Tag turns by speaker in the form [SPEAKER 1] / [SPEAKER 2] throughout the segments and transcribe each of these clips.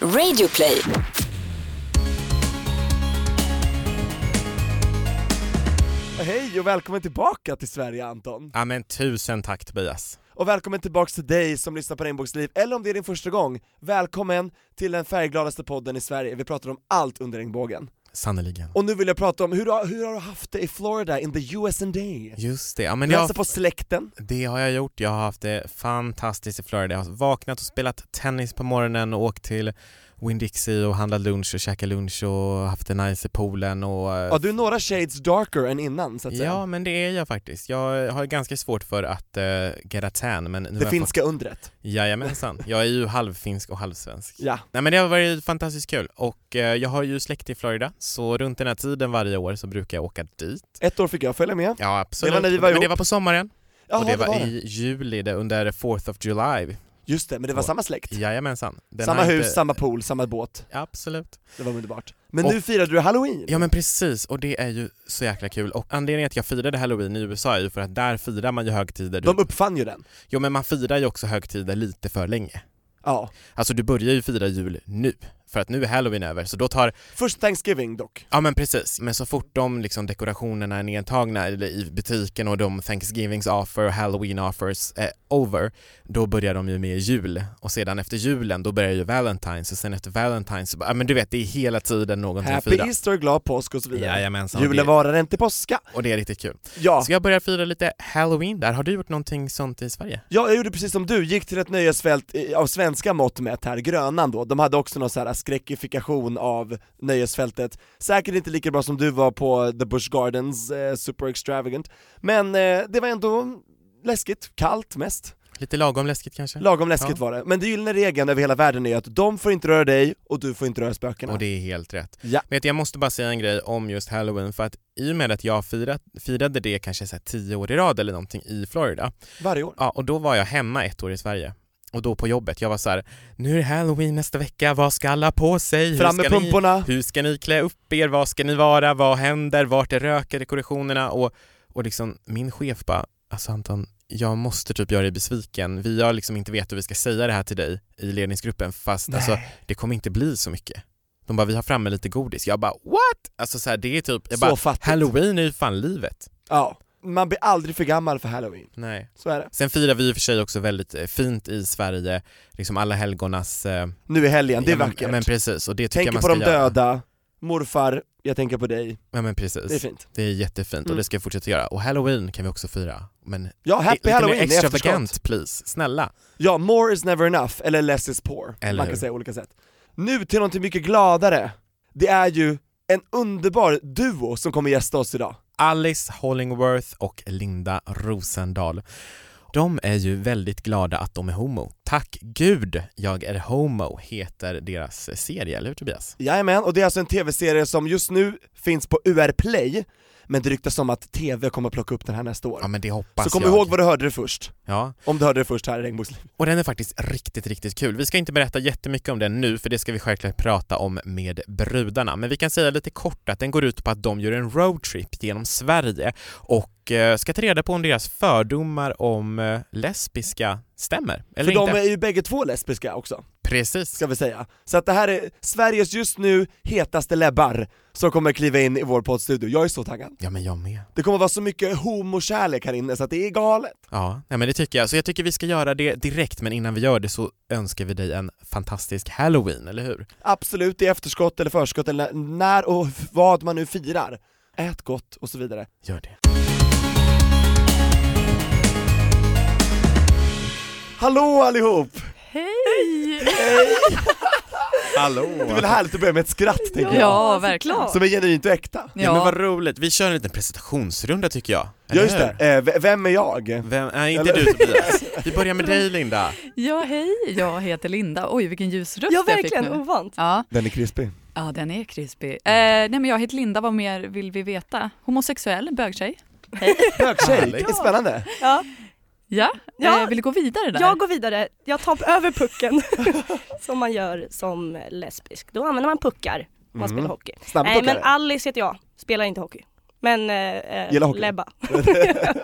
[SPEAKER 1] Radioplay.
[SPEAKER 2] Hej och välkommen tillbaka till Sverige Anton!
[SPEAKER 3] Ja men tusen tack Tobias.
[SPEAKER 2] Och välkommen tillbaks till dig som lyssnar på Regnbågsliv, eller om det är din första gång, välkommen till den färggladaste podden i Sverige, vi pratar om allt under regnbågen.
[SPEAKER 3] Sannerligen.
[SPEAKER 2] Och nu vill jag prata om hur, har- hur har du haft det i Florida, in the US and day?
[SPEAKER 3] Just det, ja, men
[SPEAKER 2] Du
[SPEAKER 3] jag,
[SPEAKER 2] hälsar på släkten,
[SPEAKER 3] det har jag gjort. Jag har haft det fantastiskt i Florida. Jag har vaknat och spelat tennis på morgonen och åkt till Winn-Dixie och handlat lunch och käkat lunch och haft det nice i poolen och... eh,
[SPEAKER 2] ja du är några shades darker än innan så att säga.
[SPEAKER 3] ja men det är jag faktiskt. Jag har ganska svårt för att uh, get a tan men... Nu har
[SPEAKER 2] Det
[SPEAKER 3] jag
[SPEAKER 2] finska undret.
[SPEAKER 3] Fått... Jajamensan. Jag är ju halvfinsk och halvsvensk.
[SPEAKER 2] Ja.
[SPEAKER 3] Nej men det har varit fantastiskt kul och eh, jag har ju släkt i Florida så runt den här tiden varje år så brukar jag åka dit.
[SPEAKER 2] Ett år fick jag följa med.
[SPEAKER 3] Ja absolut.
[SPEAKER 2] när vi var
[SPEAKER 3] men det
[SPEAKER 2] ihop.
[SPEAKER 3] var på sommaren.
[SPEAKER 2] Jaha,
[SPEAKER 3] och det var, i juli, det, under 4th of July.
[SPEAKER 2] Just det, men det var samma släkt.
[SPEAKER 3] Jajamensan. Den
[SPEAKER 2] samma
[SPEAKER 3] har
[SPEAKER 2] hus,
[SPEAKER 3] inte-
[SPEAKER 2] samma pool, samma båt.
[SPEAKER 3] Absolut.
[SPEAKER 2] Det var underbart. Men
[SPEAKER 3] Och-
[SPEAKER 2] nu firade du halloween!
[SPEAKER 3] Ja men precis, och det är ju så jäkla kul. Och anledningen att jag firade halloween i USA är ju för att där firar man ju högtider. Du...
[SPEAKER 2] De uppfann ju den.
[SPEAKER 3] Jo men man firar ju också högtider lite för länge.
[SPEAKER 2] Ja.
[SPEAKER 3] Alltså du börjar ju fira jul nu, för att nu är halloween över. Så då tar,
[SPEAKER 2] Först Thanksgiving dock.
[SPEAKER 3] ja men precis, men så fort de liksom dekorationerna är nedtagna eller i butiken och de Thanksgivings offer och halloween offers är over, då börjar de ju med jul och sedan efter julen då börjar ju Valentine's och sen efter Valentine's så bara, ja, men du vet det är hela tiden någonting att
[SPEAKER 2] Happy
[SPEAKER 3] fira.
[SPEAKER 2] Easter, glad påsk och så vidare.
[SPEAKER 3] Jajamensan, och
[SPEAKER 2] Julen
[SPEAKER 3] det,
[SPEAKER 2] varar inte påska.
[SPEAKER 3] och det är riktigt kul.
[SPEAKER 2] Ja.
[SPEAKER 3] Så jag börjar fira lite halloween där, har du gjort någonting sånt i Sverige?
[SPEAKER 2] ja, jag gjorde precis som du, gick till ett nöjesfält i- av svenska mått mätt här, Grönan då, de hade också någon så här skräckifikation av nöjesfältet. Säkert inte lika bra som du var på The Busch Gardens, eh, super extravagant, men eh, det var ändå läskigt, kallt mest.
[SPEAKER 3] Lite lagom läskigt kanske?
[SPEAKER 2] Lagom läskigt
[SPEAKER 3] Ja.
[SPEAKER 2] var det. Men den gyllene regeln över hela världen är att de får inte röra dig och du får inte röra spökena.
[SPEAKER 3] Och det är helt rätt.
[SPEAKER 2] Ja.
[SPEAKER 3] Vet du, jag måste bara säga en grej om just halloween för att i och med att jag firat, firade det kanske så här tio år i rad eller någonting i Florida,
[SPEAKER 2] Varje år.
[SPEAKER 3] ja, och då var jag hemma ett år i Sverige och då på jobbet, jag var så här: nu är det halloween nästa vecka, vad ska alla på sig? Hur
[SPEAKER 2] Fram
[SPEAKER 3] ska
[SPEAKER 2] med
[SPEAKER 3] ni-
[SPEAKER 2] pumporna!
[SPEAKER 3] hur ska ni klä upp er? Vad ska ni vara? Vad händer? Vart är rökdekorationerna? Och, och liksom min chef bara, alltså Anton, jag måste typ göra dig besviken. Vi har liksom inte vet hur vi ska säga det här till dig i ledningsgruppen fast alltså, det kommer inte bli så mycket. De bara, vi har framme lite godis. Jag bara, what? Alltså så här, det är typ, jag
[SPEAKER 2] så
[SPEAKER 3] bara,
[SPEAKER 2] fattigt.
[SPEAKER 3] halloween är ju fan livet.
[SPEAKER 2] Ja. Man blir aldrig för gammal för halloween,
[SPEAKER 3] Nej.
[SPEAKER 2] så är det.
[SPEAKER 3] Sen firar vi i och för sig också väldigt eh, fint i Sverige, liksom alla helgonas... eh,
[SPEAKER 2] Nu i helgen, det är
[SPEAKER 3] ja, men-
[SPEAKER 2] vackert.
[SPEAKER 3] ja, Men precis, och det tycker jag
[SPEAKER 2] tänker
[SPEAKER 3] man
[SPEAKER 2] på
[SPEAKER 3] ska
[SPEAKER 2] de
[SPEAKER 3] göra.
[SPEAKER 2] döda, morfar, jag tänker på dig.
[SPEAKER 3] Ja men precis.
[SPEAKER 2] Det är fint.
[SPEAKER 3] Det är jättefint och
[SPEAKER 2] Mm.
[SPEAKER 3] det ska vi fortsätta göra. Och halloween kan vi också fira. Men
[SPEAKER 2] Ja, happy
[SPEAKER 3] lite
[SPEAKER 2] halloween i
[SPEAKER 3] mer
[SPEAKER 2] efterskott.
[SPEAKER 3] extravagant please, snälla.
[SPEAKER 2] Ja, more is never enough, eller less is poor.
[SPEAKER 3] Eller
[SPEAKER 2] Man kan
[SPEAKER 3] hur?
[SPEAKER 2] säga olika sätt. Nu till någonting mycket gladare. Det är ju en underbar duo som kommer gästa oss idag.
[SPEAKER 3] Alice Hollingworth och Linda Rosendahl. De är ju väldigt glada att de är homo. Tack gud jag är homo heter deras eh, serie, eller hur Tobias?
[SPEAKER 2] Jajamän, och det är alltså en tv-serie som just nu finns på UR Play, men det ryktas om att tv kommer plocka upp den här nästa år.
[SPEAKER 3] Ja men det hoppas
[SPEAKER 2] Så kom
[SPEAKER 3] jag.
[SPEAKER 2] ihåg vad du hörde det först,
[SPEAKER 3] Ja,
[SPEAKER 2] om du hörde det först här i Regnbågsliv.
[SPEAKER 3] och den är faktiskt riktigt, riktigt kul. Vi ska inte berätta jättemycket om den nu, för det ska vi självklart prata om med brudarna. Men vi kan säga lite kort att den går ut på att de gör en roadtrip genom Sverige och eh, ska ta reda på om deras fördomar om eh, lesbiska stämmer eller
[SPEAKER 2] För de
[SPEAKER 3] inte.
[SPEAKER 2] är ju bägge två lesbiska också.
[SPEAKER 3] Precis.
[SPEAKER 2] ska vi säga. Så att det här är Sveriges just nu hetaste läbbar som kommer kliva in i vår poddstudio. Jag är så taggad.
[SPEAKER 3] Ja, men jag med.
[SPEAKER 2] Det kommer vara så mycket homokärlek här inne så att det är galet.
[SPEAKER 3] Ja, nej, men det tycker jag. Så jag tycker vi ska göra det direkt, men innan vi gör det så önskar vi dig en fantastisk halloween, eller hur?
[SPEAKER 2] Absolut i efterskott eller förskott eller när- när och vad man nu firar. Ät gott och så vidare.
[SPEAKER 3] Gör det.
[SPEAKER 2] Hallå allihop! Hej!
[SPEAKER 3] Hallå!
[SPEAKER 2] Det är väl härligt att börja med ett skratt tänker jag.
[SPEAKER 4] Ja, verkligen.
[SPEAKER 2] Som är genuint och äkta.
[SPEAKER 3] Ja, men
[SPEAKER 4] Ja.
[SPEAKER 3] vad roligt. Vi kör en liten presentationsrunda tycker jag.
[SPEAKER 2] Ja
[SPEAKER 3] eller
[SPEAKER 2] just
[SPEAKER 3] hur?
[SPEAKER 2] det, eh, v- vem är jag?
[SPEAKER 3] Vem, nej inte
[SPEAKER 2] Eller-
[SPEAKER 3] du Tobias. Vi börjar med dig Linda.
[SPEAKER 4] ja, hej, jag heter Linda. Oj, vilken ljus röst
[SPEAKER 5] Ja,
[SPEAKER 4] jag fick
[SPEAKER 5] verkligen.
[SPEAKER 4] nu.
[SPEAKER 5] Ovant.
[SPEAKER 4] Ja,
[SPEAKER 2] Den är krispig.
[SPEAKER 4] ja, den är krispig. Eh, nej, men jag heter Linda, vad mer vill vi veta? Homosexuell, bögtjej.
[SPEAKER 2] Bögtjej, det
[SPEAKER 3] Härligt.
[SPEAKER 2] är spännande.
[SPEAKER 5] Ja.
[SPEAKER 4] Ja,
[SPEAKER 5] Ja,
[SPEAKER 4] eh, vill du gå vidare där?
[SPEAKER 5] Jag går vidare. Jag tar över pucken. som man gör som lesbisk. Då använder man puckar. om Man
[SPEAKER 2] Mm.
[SPEAKER 5] spelar hockey.
[SPEAKER 2] Snabbt
[SPEAKER 5] Nej men
[SPEAKER 2] åkare.
[SPEAKER 5] Alice heter jag. Spelar inte hockey. Men eh, eh,
[SPEAKER 2] Gillar hockey.
[SPEAKER 5] Lebba. alltså-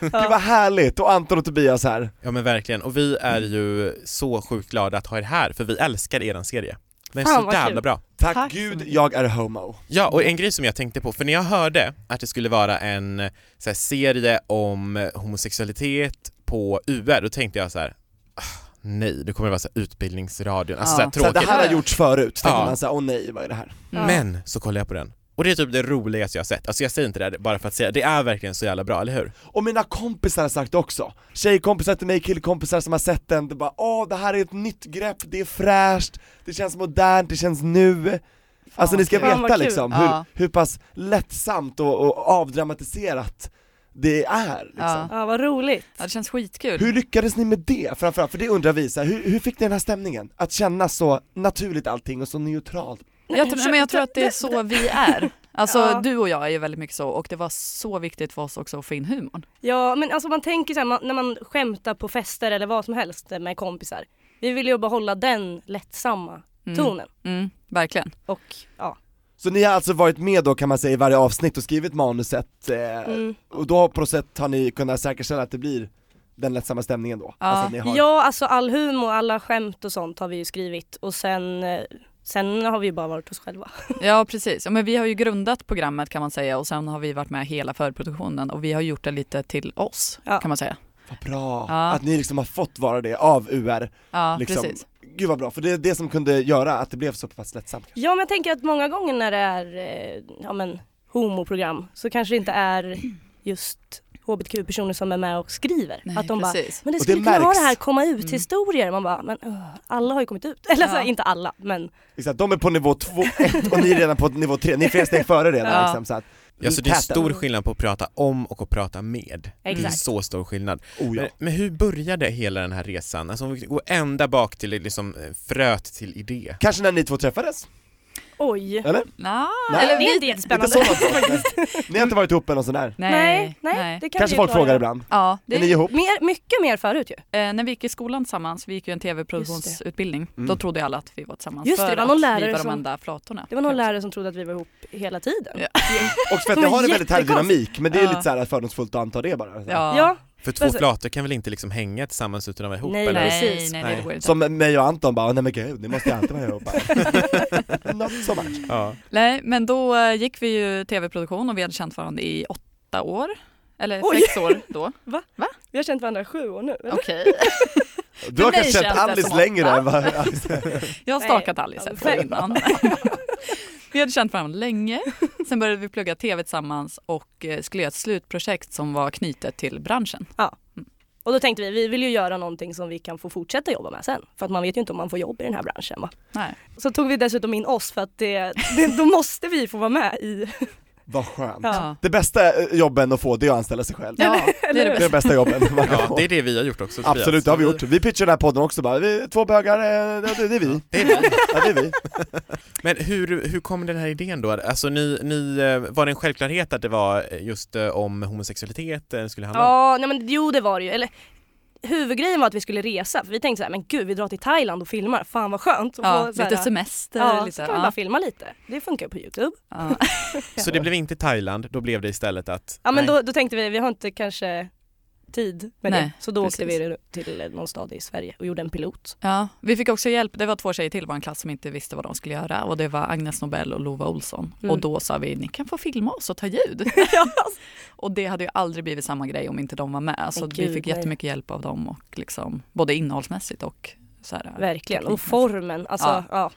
[SPEAKER 2] Gud vad härligt! Och Anton och Tobias här.
[SPEAKER 3] Ja men verkligen, och vi är ju så sjukt glada att ha er här för vi älskar eran serie. Den är
[SPEAKER 5] Fan,
[SPEAKER 3] så
[SPEAKER 5] vad
[SPEAKER 3] jävla
[SPEAKER 5] kul.
[SPEAKER 3] bra.
[SPEAKER 2] Tack,
[SPEAKER 4] Tack så
[SPEAKER 2] gud,
[SPEAKER 4] mycket.
[SPEAKER 2] jag är homo.
[SPEAKER 3] Ja, och en grej som jag tänkte på, för när jag hörde att det skulle vara en eh, så här, serie om homosexualitet på UR, då tänkte jag så här: "Ah, nej, det kommer vara så här, utbildningsradion, alltså
[SPEAKER 4] Ja.
[SPEAKER 3] så här,
[SPEAKER 4] Så
[SPEAKER 2] Så
[SPEAKER 3] tråkigt.
[SPEAKER 2] det här har gjorts förut, tänkte
[SPEAKER 3] Ja.
[SPEAKER 2] man såhär, åh nej, vad är det här?
[SPEAKER 4] Mm.
[SPEAKER 3] Men så kollade jag på den, och det är typ det roligaste jag har sett. Alltså jag säger inte det här bara för att säga, det är verkligen så jävla bra, eller hur?
[SPEAKER 2] Och mina kompisar har sagt också, tjejkompisar till mig, killkompisar som har sett den, det bara åh det här är ett nytt grepp, det är fräscht, det känns modernt, det känns nu Alltså ni ska
[SPEAKER 5] kul. Fan, vad
[SPEAKER 2] veta
[SPEAKER 5] kul.
[SPEAKER 2] liksom
[SPEAKER 4] Ja.
[SPEAKER 2] hur, hur pass lättsamt och, och avdramatiserat det är liksom.
[SPEAKER 4] Ja.
[SPEAKER 5] Ja, vad roligt.
[SPEAKER 4] Ja, det känns skitkul.
[SPEAKER 2] Hur lyckades ni med det framförallt? För det undrar vi, så här, hur, hur fick ni den här stämningen? Att känna så naturligt allting och så neutralt?
[SPEAKER 4] Jag, tror- nej, men jag tror att det är så vi är. Alltså
[SPEAKER 5] Ja.
[SPEAKER 4] du och jag är ju väldigt mycket så och det var så viktigt för oss också att få in humorn.
[SPEAKER 5] Ja, men alltså man tänker så här, man, när man skämtar på fester eller vad som helst med kompisar. Vi vill ju behålla den lättsamma
[SPEAKER 4] Mm.
[SPEAKER 5] tonen.
[SPEAKER 4] Mm, verkligen.
[SPEAKER 5] Och ja.
[SPEAKER 2] Så ni har alltså varit med då kan man säga i varje avsnitt och skrivit manuset eh,
[SPEAKER 5] Mm.
[SPEAKER 2] Och då på något sätt har ni kunnat säkerställa att det blir den lättsamma stämningen då?
[SPEAKER 4] Ja.
[SPEAKER 2] Alltså att ni har...
[SPEAKER 5] Ja, alltså all humor, alla skämt och sånt har vi ju skrivit och sen, eh, sen har vi ju bara varit oss själva.
[SPEAKER 4] Ja precis, ja, men vi har ju grundat programmet kan man säga och sen har vi varit med hela förproduktionen och vi har gjort det lite till oss
[SPEAKER 5] Ja.
[SPEAKER 4] kan man säga.
[SPEAKER 2] Vad bra!
[SPEAKER 4] Ja.
[SPEAKER 2] Att ni liksom har fått vara det av UR.
[SPEAKER 4] Ja
[SPEAKER 2] liksom.
[SPEAKER 4] precis.
[SPEAKER 2] Gud vad bra, för det är det som kunde göra att det blev så pass lättsamt.
[SPEAKER 5] Ja, men jag tänker att många gånger när det är eh, ja, men, homoprogram så kanske det inte är just hbtq-personer som är med och skriver.
[SPEAKER 4] Nej,
[SPEAKER 5] att de bara,
[SPEAKER 4] precis.
[SPEAKER 5] men det
[SPEAKER 2] Och
[SPEAKER 5] skulle
[SPEAKER 2] det
[SPEAKER 5] kunna vara
[SPEAKER 2] märks. Mm.
[SPEAKER 5] det här komma ut-historier. Man bara, men öh, alla har ju kommit ut. Eller
[SPEAKER 4] Ja.
[SPEAKER 5] så, inte alla,
[SPEAKER 2] Mm.
[SPEAKER 5] men
[SPEAKER 2] Exakt, de är på nivå två ett, och ni är redan på nivå tre. ni är flera steg före redan
[SPEAKER 4] Ja.
[SPEAKER 2] liksom, så att,
[SPEAKER 3] Ja, så Alltså, det är
[SPEAKER 2] Täten.
[SPEAKER 3] stor skillnad på att prata om och att prata med. Det är
[SPEAKER 5] Exakt.
[SPEAKER 3] så stor skillnad.
[SPEAKER 2] Oh, ja.
[SPEAKER 3] Men, men hur började hela den här resan? Alltså om vi går ända bak till liksom eh, fröet till idé.
[SPEAKER 2] Kanske när ni två träffades?
[SPEAKER 5] oj.
[SPEAKER 2] Eller?
[SPEAKER 4] Nå,
[SPEAKER 2] Nej.
[SPEAKER 4] eller
[SPEAKER 5] det är
[SPEAKER 4] vi...
[SPEAKER 5] inte
[SPEAKER 2] Inte
[SPEAKER 5] jättespännande.
[SPEAKER 2] så långt bort, men Ni har inte varit ihop eller något sånt där?
[SPEAKER 4] Nej,
[SPEAKER 5] Nej, nej, det kan
[SPEAKER 2] Kanske
[SPEAKER 5] vi
[SPEAKER 2] folk
[SPEAKER 5] klara.
[SPEAKER 2] frågar ibland.
[SPEAKER 4] Ja, det
[SPEAKER 2] Är ni ihop?
[SPEAKER 5] Mer, mycket mer förut ju.
[SPEAKER 4] Eh, när vi gick i skolan tillsammans, vi gick ju en tv-produktionsutbildning,
[SPEAKER 2] Mm.
[SPEAKER 4] då trodde ju alla att vi var tillsammans
[SPEAKER 5] Just det,
[SPEAKER 4] för
[SPEAKER 5] det var
[SPEAKER 4] att
[SPEAKER 5] någon
[SPEAKER 4] vi
[SPEAKER 5] lärare
[SPEAKER 4] var de
[SPEAKER 5] som-
[SPEAKER 4] enda flatorna.
[SPEAKER 5] Det var någon lärare som trodde att vi var ihop hela tiden.
[SPEAKER 4] Ja.
[SPEAKER 2] Och för att
[SPEAKER 5] De
[SPEAKER 2] ni
[SPEAKER 5] är
[SPEAKER 2] har en väldigt härlig
[SPEAKER 5] jättekonstigt.
[SPEAKER 2] dynamik, men det är
[SPEAKER 4] Ja.
[SPEAKER 2] lite så här fördomsfullt att anta det bara.
[SPEAKER 4] Ja,
[SPEAKER 5] Ja,
[SPEAKER 3] För två
[SPEAKER 5] Alltså-
[SPEAKER 3] flator kan väl inte liksom hänga tillsammans utan att vara ihop
[SPEAKER 5] Nej,
[SPEAKER 3] eller?
[SPEAKER 4] nej,
[SPEAKER 5] precis.
[SPEAKER 4] nej, nej, det går inte.
[SPEAKER 2] Som mig och Anton bara, "Ah, nej men gud, ni måste ju alltid vara ihop. Bara, Not so much.
[SPEAKER 3] Ja.
[SPEAKER 4] Nej, men då eh, gick vi ju tv-produktion och vi hade känt varandra i åtta år. Eller
[SPEAKER 5] Oj.
[SPEAKER 4] sex år då.
[SPEAKER 5] vi har känt varandra i sju år nu. eller?
[SPEAKER 4] Okej.
[SPEAKER 2] Du har
[SPEAKER 4] För
[SPEAKER 2] kanske
[SPEAKER 4] mig
[SPEAKER 2] känt
[SPEAKER 4] känns det
[SPEAKER 2] Alice
[SPEAKER 4] som
[SPEAKER 2] längre
[SPEAKER 4] åtta.
[SPEAKER 2] än vad...
[SPEAKER 4] Jag har
[SPEAKER 5] Nej,
[SPEAKER 4] stakat Alice ett år
[SPEAKER 5] Alice.
[SPEAKER 4] innan. vi hade känt varandra länge. Sen började vi plugga tv tillsammans och eh, skulle göra ett slutprojekt som var knutet till branschen.
[SPEAKER 5] Och då tänkte vi, vi vill ju göra någonting som vi kan få fortsätta jobba med sen. För att man vet ju inte om man får jobb i den här branschen va.
[SPEAKER 4] Nej.
[SPEAKER 5] Så tog vi dessutom in oss för att det, det, då måste vi få vara med i...
[SPEAKER 2] Vad skönt.
[SPEAKER 4] Ja.
[SPEAKER 2] Det bästa eh, jobben att få det är att anställa sig själv.
[SPEAKER 4] Ja, det är
[SPEAKER 2] Det är
[SPEAKER 4] det
[SPEAKER 2] de
[SPEAKER 4] bästa.
[SPEAKER 2] bästa jobben man kan
[SPEAKER 3] ja,
[SPEAKER 2] få.
[SPEAKER 3] det är det vi har gjort också Tobias.
[SPEAKER 2] Absolut, det har vi gjort. Vi pitchar den här podden också bara, vi, två bögar, eh, det, det är vi.
[SPEAKER 3] Det är vi.
[SPEAKER 2] Ja, det är vi.
[SPEAKER 3] Men hur, hur kom den här idén då? Alltså ni, ni, eh, var det en självklarhet att det var eh, just eh, om homosexualitet eh, skulle handla om?
[SPEAKER 5] Ja, nej men jo det var det ju. Eller, huvudgrejen var att vi skulle resa. För vi tänkte så här, men gud vi drar till Thailand och filmar. Fan vad skönt. att
[SPEAKER 4] Ja,
[SPEAKER 5] få så här-
[SPEAKER 4] lite semester.
[SPEAKER 5] Ja, så
[SPEAKER 4] lite,
[SPEAKER 5] kan vi bara filma lite. Det funkar ju på Youtube.
[SPEAKER 4] ja.
[SPEAKER 3] Så det blev inte Thailand, då blev det istället att...
[SPEAKER 5] Ja men
[SPEAKER 3] Nej.
[SPEAKER 5] då, då tänkte vi, vi har inte kanske tid med
[SPEAKER 4] Nej,
[SPEAKER 5] det. Så då
[SPEAKER 4] precis.
[SPEAKER 5] åkte vi till någon stad i Sverige och gjorde en pilot.
[SPEAKER 4] Ja, vi fick också hjälp. Det var två tjejer till i vår klass som inte visste vad de skulle göra och det var Agnes Nobel och Lova Olsson.
[SPEAKER 5] Mm.
[SPEAKER 4] Och då sa vi, ni kan få filma oss och ta ljud. och det hade ju aldrig blivit samma grej om inte de var med. Så
[SPEAKER 5] Men
[SPEAKER 4] vi
[SPEAKER 5] gud,
[SPEAKER 4] fick
[SPEAKER 5] nej.
[SPEAKER 4] jättemycket hjälp av dem och liksom, både innehållsmässigt och så här.
[SPEAKER 5] Verkligen. Och
[SPEAKER 4] teknikmässigt.
[SPEAKER 5] formen. Alltså,
[SPEAKER 4] Ja.
[SPEAKER 5] ja.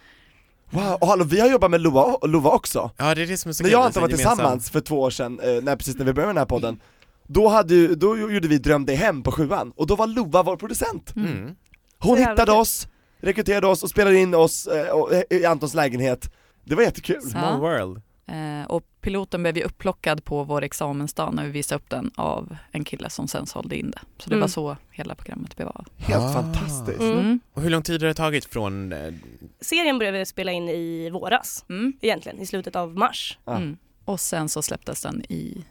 [SPEAKER 2] Wow, och hallå, vi har jobbat med Lova, Lova också.
[SPEAKER 3] Ja det är det som är så
[SPEAKER 2] När
[SPEAKER 3] kul,
[SPEAKER 2] jag och
[SPEAKER 3] det
[SPEAKER 2] Anton
[SPEAKER 3] är så
[SPEAKER 2] var
[SPEAKER 3] gemensam-
[SPEAKER 2] tillsammans för två år sedan, eh, när, precis när vi började med den här podden, då, hade, ju- då gjorde vi Dröm dig hem på sjuan, och då var Lova vår producent.
[SPEAKER 3] Mm.
[SPEAKER 2] Hon
[SPEAKER 5] Så jävla
[SPEAKER 2] hittade
[SPEAKER 5] kul.
[SPEAKER 2] oss, rekryterade oss och spelade in oss eh, och- i Antons lägenhet. Det var jättekul.
[SPEAKER 3] Small
[SPEAKER 4] Ja.
[SPEAKER 3] world.
[SPEAKER 5] Mm.
[SPEAKER 4] Eh, och piloten blev ju upplockad på vår examensdag när vi visade upp den av en kille som sen sålde in det. Så det
[SPEAKER 5] Mm.
[SPEAKER 4] var så hela programmet blev av.
[SPEAKER 2] Helt
[SPEAKER 3] Ah.
[SPEAKER 2] fantastiskt.
[SPEAKER 5] Mm.
[SPEAKER 4] Mm.
[SPEAKER 3] Och hur lång tid har det tagit från... eh,
[SPEAKER 5] Serien började vi spela in i våras
[SPEAKER 4] Mm.
[SPEAKER 5] Ah. egentligen, i slutet av mars.
[SPEAKER 2] Ja.
[SPEAKER 4] Mm. Och sen så släpptes den i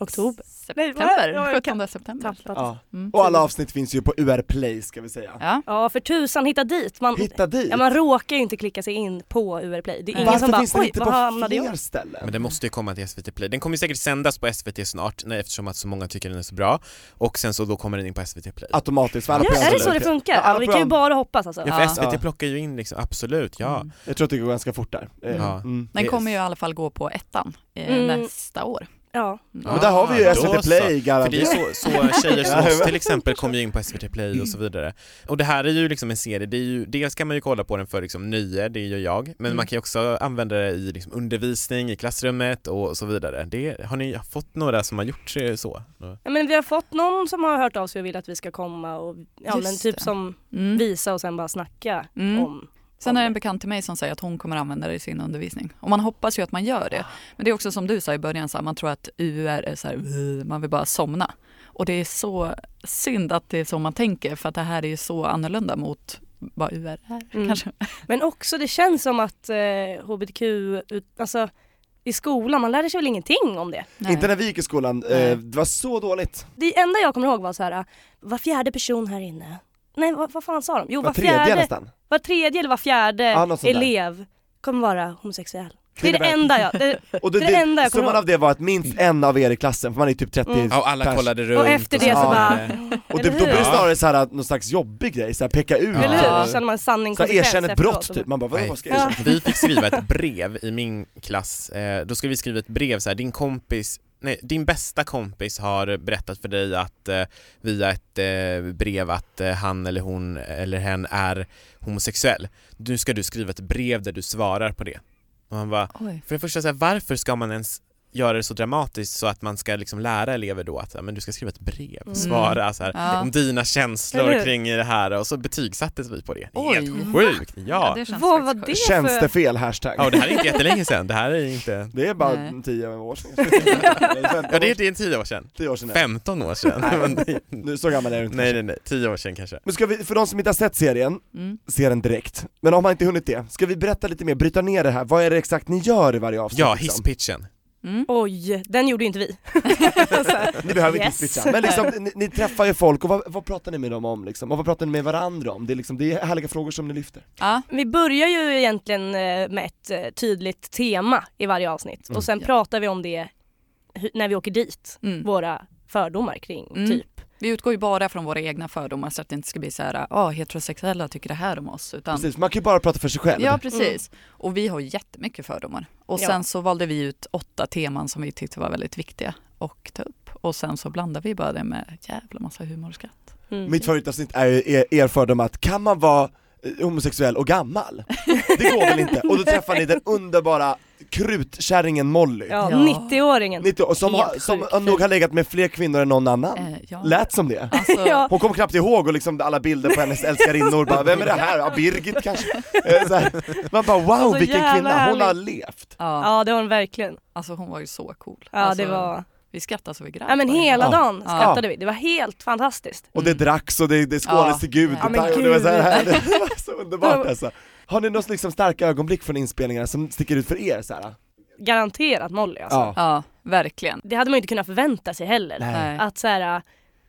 [SPEAKER 5] Oktober. Nej, vad?
[SPEAKER 4] September,
[SPEAKER 5] Jag
[SPEAKER 4] 17 september.
[SPEAKER 5] Tappat.
[SPEAKER 2] Ja.
[SPEAKER 4] Mm.
[SPEAKER 2] Och alla avsnitt finns ju på UR Play ska vi säga.
[SPEAKER 4] Ja.
[SPEAKER 5] Ja för tusan hitta dit. Man,
[SPEAKER 2] Hitta dit!
[SPEAKER 5] ja, man råkar ju inte klicka sig in på UR Play. Det är
[SPEAKER 4] Nej.
[SPEAKER 5] ingen som
[SPEAKER 2] Varför
[SPEAKER 5] bara
[SPEAKER 2] finns den
[SPEAKER 5] oj
[SPEAKER 2] inte
[SPEAKER 5] vad
[SPEAKER 2] på
[SPEAKER 5] hamnade jag?
[SPEAKER 2] fler ställen?
[SPEAKER 3] Men den måste ju komma till SVT Play. Den kommer ju säkert sändas på SVT snart nej, eftersom att så många tycker den är så bra och sen så då kommer den in på SVT Play.
[SPEAKER 2] Automatiskt, för alla
[SPEAKER 5] Ja,
[SPEAKER 2] program
[SPEAKER 5] är det
[SPEAKER 2] som
[SPEAKER 5] så det
[SPEAKER 2] dyker upp.
[SPEAKER 5] funkar?
[SPEAKER 2] Ja,
[SPEAKER 5] Ja,
[SPEAKER 2] alla
[SPEAKER 5] vi kan ju
[SPEAKER 2] program-
[SPEAKER 5] bara hoppas alltså.
[SPEAKER 3] Ja för
[SPEAKER 4] Ja.
[SPEAKER 3] SVT
[SPEAKER 2] Ja.
[SPEAKER 3] plockar ju in liksom, absolut ja.
[SPEAKER 4] Mm.
[SPEAKER 2] Jag tror att det går ganska fort där. Eh,
[SPEAKER 3] Ja.
[SPEAKER 2] Mm.
[SPEAKER 4] Den
[SPEAKER 3] Yes.
[SPEAKER 4] kommer ju i alla fall gå på ettan eh,
[SPEAKER 5] Mm.
[SPEAKER 4] nästa år.
[SPEAKER 5] Ja.
[SPEAKER 4] Mm.
[SPEAKER 2] Och där har vi ju
[SPEAKER 3] Ah, då
[SPEAKER 2] SVT
[SPEAKER 3] så.
[SPEAKER 2] Play
[SPEAKER 3] För det är
[SPEAKER 2] garanterat.
[SPEAKER 3] så, så tjejer som oss till exempel kommer ju in på SVT Play och så vidare. Och det här är ju liksom en serie, det är ju, dels kan man ju kolla på den för liksom nöje, det gör jag, men
[SPEAKER 4] Mm.
[SPEAKER 3] man kan ju också använda det i liksom undervisning, i klassrummet och så vidare. Det, har ni fått några som har gjort eh, så?
[SPEAKER 5] ja men vi har fått någon som har hört av sig och vill att vi ska komma och ja,
[SPEAKER 4] Just
[SPEAKER 5] men typ
[SPEAKER 4] det.
[SPEAKER 5] som
[SPEAKER 4] Mm.
[SPEAKER 5] visa och sen bara snacka
[SPEAKER 4] Mm.
[SPEAKER 5] om.
[SPEAKER 4] Sen är det en bekant till mig som säger att hon kommer använda det i sin undervisning. Och man hoppas ju att man gör det. Men det är också som du sa i början, så här, man tror att UR är så här, "Ugh", man vill bara somna. Och det är så synd att det är så man tänker för att det här är ju så annorlunda mot vad UR är
[SPEAKER 5] Mm.
[SPEAKER 4] kanske.
[SPEAKER 5] Men också det känns som att eh, HBTQ, ut- alltså i skolan, man lärde sig väl ingenting om det.
[SPEAKER 4] Nej.
[SPEAKER 2] Inte när vi gick i skolan,
[SPEAKER 4] Nej.
[SPEAKER 2] eh, det var så dåligt.
[SPEAKER 5] Det enda jag kommer ihåg var så här, var fjärde person här inne. Nej vad, vad fan sa de? Jo
[SPEAKER 2] Var
[SPEAKER 5] var
[SPEAKER 2] tredje
[SPEAKER 5] fjärde,
[SPEAKER 2] nästan.
[SPEAKER 5] var tredje eller var fjärde
[SPEAKER 2] Ja, något sånt där.
[SPEAKER 5] elev kommer vara homosexuell. Det är det
[SPEAKER 2] innebär-
[SPEAKER 5] enda jag, det,
[SPEAKER 2] Och det,
[SPEAKER 5] det är det enda jag kommer
[SPEAKER 2] summan
[SPEAKER 5] ihåg.
[SPEAKER 2] av det var att minst en av er i klassen, för man är typ 30
[SPEAKER 5] Mm.
[SPEAKER 3] Mm. Ja, och alla
[SPEAKER 2] pers.
[SPEAKER 3] kollade runt.
[SPEAKER 5] och efter det så
[SPEAKER 2] Ja.
[SPEAKER 5] bara,
[SPEAKER 2] Och det, då
[SPEAKER 5] Eller
[SPEAKER 2] blir det
[SPEAKER 5] hur?
[SPEAKER 2] snarare så här, att någon slags jobbig grej, så här, peka ut
[SPEAKER 3] Ja.
[SPEAKER 5] eller hur?
[SPEAKER 2] typ.
[SPEAKER 5] Så känner man sanning
[SPEAKER 2] Så här,
[SPEAKER 5] konsekvens
[SPEAKER 2] erkänn ett
[SPEAKER 5] efteråt.
[SPEAKER 2] brott typ, man bara
[SPEAKER 3] Nej.
[SPEAKER 2] vadå vad ska jag
[SPEAKER 5] Ja.
[SPEAKER 2] erkänna?
[SPEAKER 3] Vi fick skriva ett brev i min klass, eh, då skulle vi skriva ett brev så här, din kompis Nej, din bästa kompis har berättat för dig att eh, via ett eh, brev att eh, han eller hon eller hen är homosexuell. Nu ska du skriva ett brev där du svarar på det. Och man bara,
[SPEAKER 4] Oj.
[SPEAKER 3] för det första, så här, varför ska man ens göra det så dramatiskt så att man ska liksom lära elever då att ja, men du ska skriva ett brev,
[SPEAKER 5] Mm.
[SPEAKER 3] svara så här,
[SPEAKER 4] Ja.
[SPEAKER 3] om dina känslor
[SPEAKER 5] Eller hur?
[SPEAKER 3] kring det här och så betygsattes vi på det. Det är
[SPEAKER 4] Oj.
[SPEAKER 3] Helt sjukt! Ja.
[SPEAKER 4] det känns
[SPEAKER 5] Vad var
[SPEAKER 4] faktiskt
[SPEAKER 5] det
[SPEAKER 4] sjukt.
[SPEAKER 2] Känns det fel hashtag?
[SPEAKER 3] Ja, och det här är inte jättelänge sedan, det här är inte...
[SPEAKER 2] Det är bara
[SPEAKER 4] Nej.
[SPEAKER 2] 10 år sedan. Eller 15
[SPEAKER 3] Ja, det är,
[SPEAKER 2] år sedan.
[SPEAKER 3] det är tio år sedan.
[SPEAKER 2] 10 år sedan. är
[SPEAKER 3] 15 år sedan.
[SPEAKER 2] Nej.
[SPEAKER 3] Men det-
[SPEAKER 2] det. Nu, så gammal är du inte.
[SPEAKER 3] nej, nej, nej, tio år sedan kanske.
[SPEAKER 2] Men ska vi, för de som inte har sett serien,
[SPEAKER 4] Mm.
[SPEAKER 2] se den direkt. Men om man inte hunnit det, ska vi berätta lite mer, bryta ner det här, vad är det exakt ni gör i varje avsnitt?
[SPEAKER 3] Ja,
[SPEAKER 2] liksom?
[SPEAKER 3] hisspitchen.
[SPEAKER 4] Mm.
[SPEAKER 5] Oj, den gjorde ju inte vi.
[SPEAKER 2] Ni behöver
[SPEAKER 5] Yes.
[SPEAKER 2] inte hisspitcha, men liksom, ni, ni träffar ju folk och vad, vad pratar ni med dem om liksom? Och vad pratar ni med varandra om? Det är, liksom, det är härliga frågor som ni lyfter.
[SPEAKER 4] Ja.
[SPEAKER 5] Vi börjar ju egentligen eh, med ett eh, tydligt tema i varje avsnitt
[SPEAKER 2] Mm.
[SPEAKER 5] och sen
[SPEAKER 4] Ja.
[SPEAKER 5] pratar vi om det hu- när vi åker dit,
[SPEAKER 4] Mm.
[SPEAKER 5] våra fördomar kring
[SPEAKER 4] Mm.
[SPEAKER 5] typ.
[SPEAKER 4] Vi utgår ju bara från våra egna fördomar så att det inte ska bli så här, ah, heterosexuella tycker det här om oss. Utan
[SPEAKER 2] Precis, man kan ju bara prata för sig själv. Mm.
[SPEAKER 4] Ja precis. Och vi har jättemycket fördomar. Och
[SPEAKER 5] Ja.
[SPEAKER 4] sen så valde vi ut åtta teman som vi tyckte var väldigt viktiga att ta upp. Och sen så blandade vi bara det med jävla massa humor och skratt.
[SPEAKER 5] Mm.
[SPEAKER 2] Mitt favoritavsnitt är ju er, er fördom att kan man vara eh, homosexuell och gammal? Det går väl inte? Och då träffar ni den underbara krutkärringen Molly.
[SPEAKER 5] ja,
[SPEAKER 4] Ja.
[SPEAKER 5] 90-åringen.
[SPEAKER 2] 90 och som, har,
[SPEAKER 5] Helt
[SPEAKER 2] som
[SPEAKER 5] sjukt.
[SPEAKER 2] nog har legat med fler kvinnor än någon annan.
[SPEAKER 4] Eh, ja.
[SPEAKER 2] Lät som det.
[SPEAKER 4] Alltså,
[SPEAKER 5] Ja.
[SPEAKER 2] Hon kom knappt ihåg och liksom alla bilder på hennes älskarinnor bara, vem är det här? Ja, Birgit kanske? Eh, Så här. Man bara wow
[SPEAKER 5] Alltså,
[SPEAKER 2] vilken
[SPEAKER 5] jävla
[SPEAKER 2] kvinna, hon
[SPEAKER 5] härligt.
[SPEAKER 2] har levt.
[SPEAKER 4] Ja,
[SPEAKER 5] Ja det var den verkligen.
[SPEAKER 4] alltså hon var ju så cool.
[SPEAKER 5] Ja
[SPEAKER 4] alltså,
[SPEAKER 5] det var,
[SPEAKER 4] Vi skrattade så vi grät.
[SPEAKER 5] ja men
[SPEAKER 4] varje
[SPEAKER 5] hela
[SPEAKER 4] gång.
[SPEAKER 5] dagen
[SPEAKER 4] Ja.
[SPEAKER 5] skrattade vi. Det var helt fantastiskt.
[SPEAKER 2] Och det
[SPEAKER 4] Mm.
[SPEAKER 2] dracks och det, det skålades
[SPEAKER 4] Ja.
[SPEAKER 2] till gud,
[SPEAKER 4] Ja,
[SPEAKER 5] men
[SPEAKER 2] och det var så här
[SPEAKER 5] gud.
[SPEAKER 2] härligt, det var så underbart alltså. Har ni något liksom starka ögonblick från inspelningarna som sticker ut för er så här?
[SPEAKER 5] Garanterat Molly alltså.
[SPEAKER 2] Ja.
[SPEAKER 4] Ja, verkligen.
[SPEAKER 5] Det hade man ju inte kunnat förvänta sig heller.
[SPEAKER 2] Nej.
[SPEAKER 4] Nej.
[SPEAKER 5] Att så här,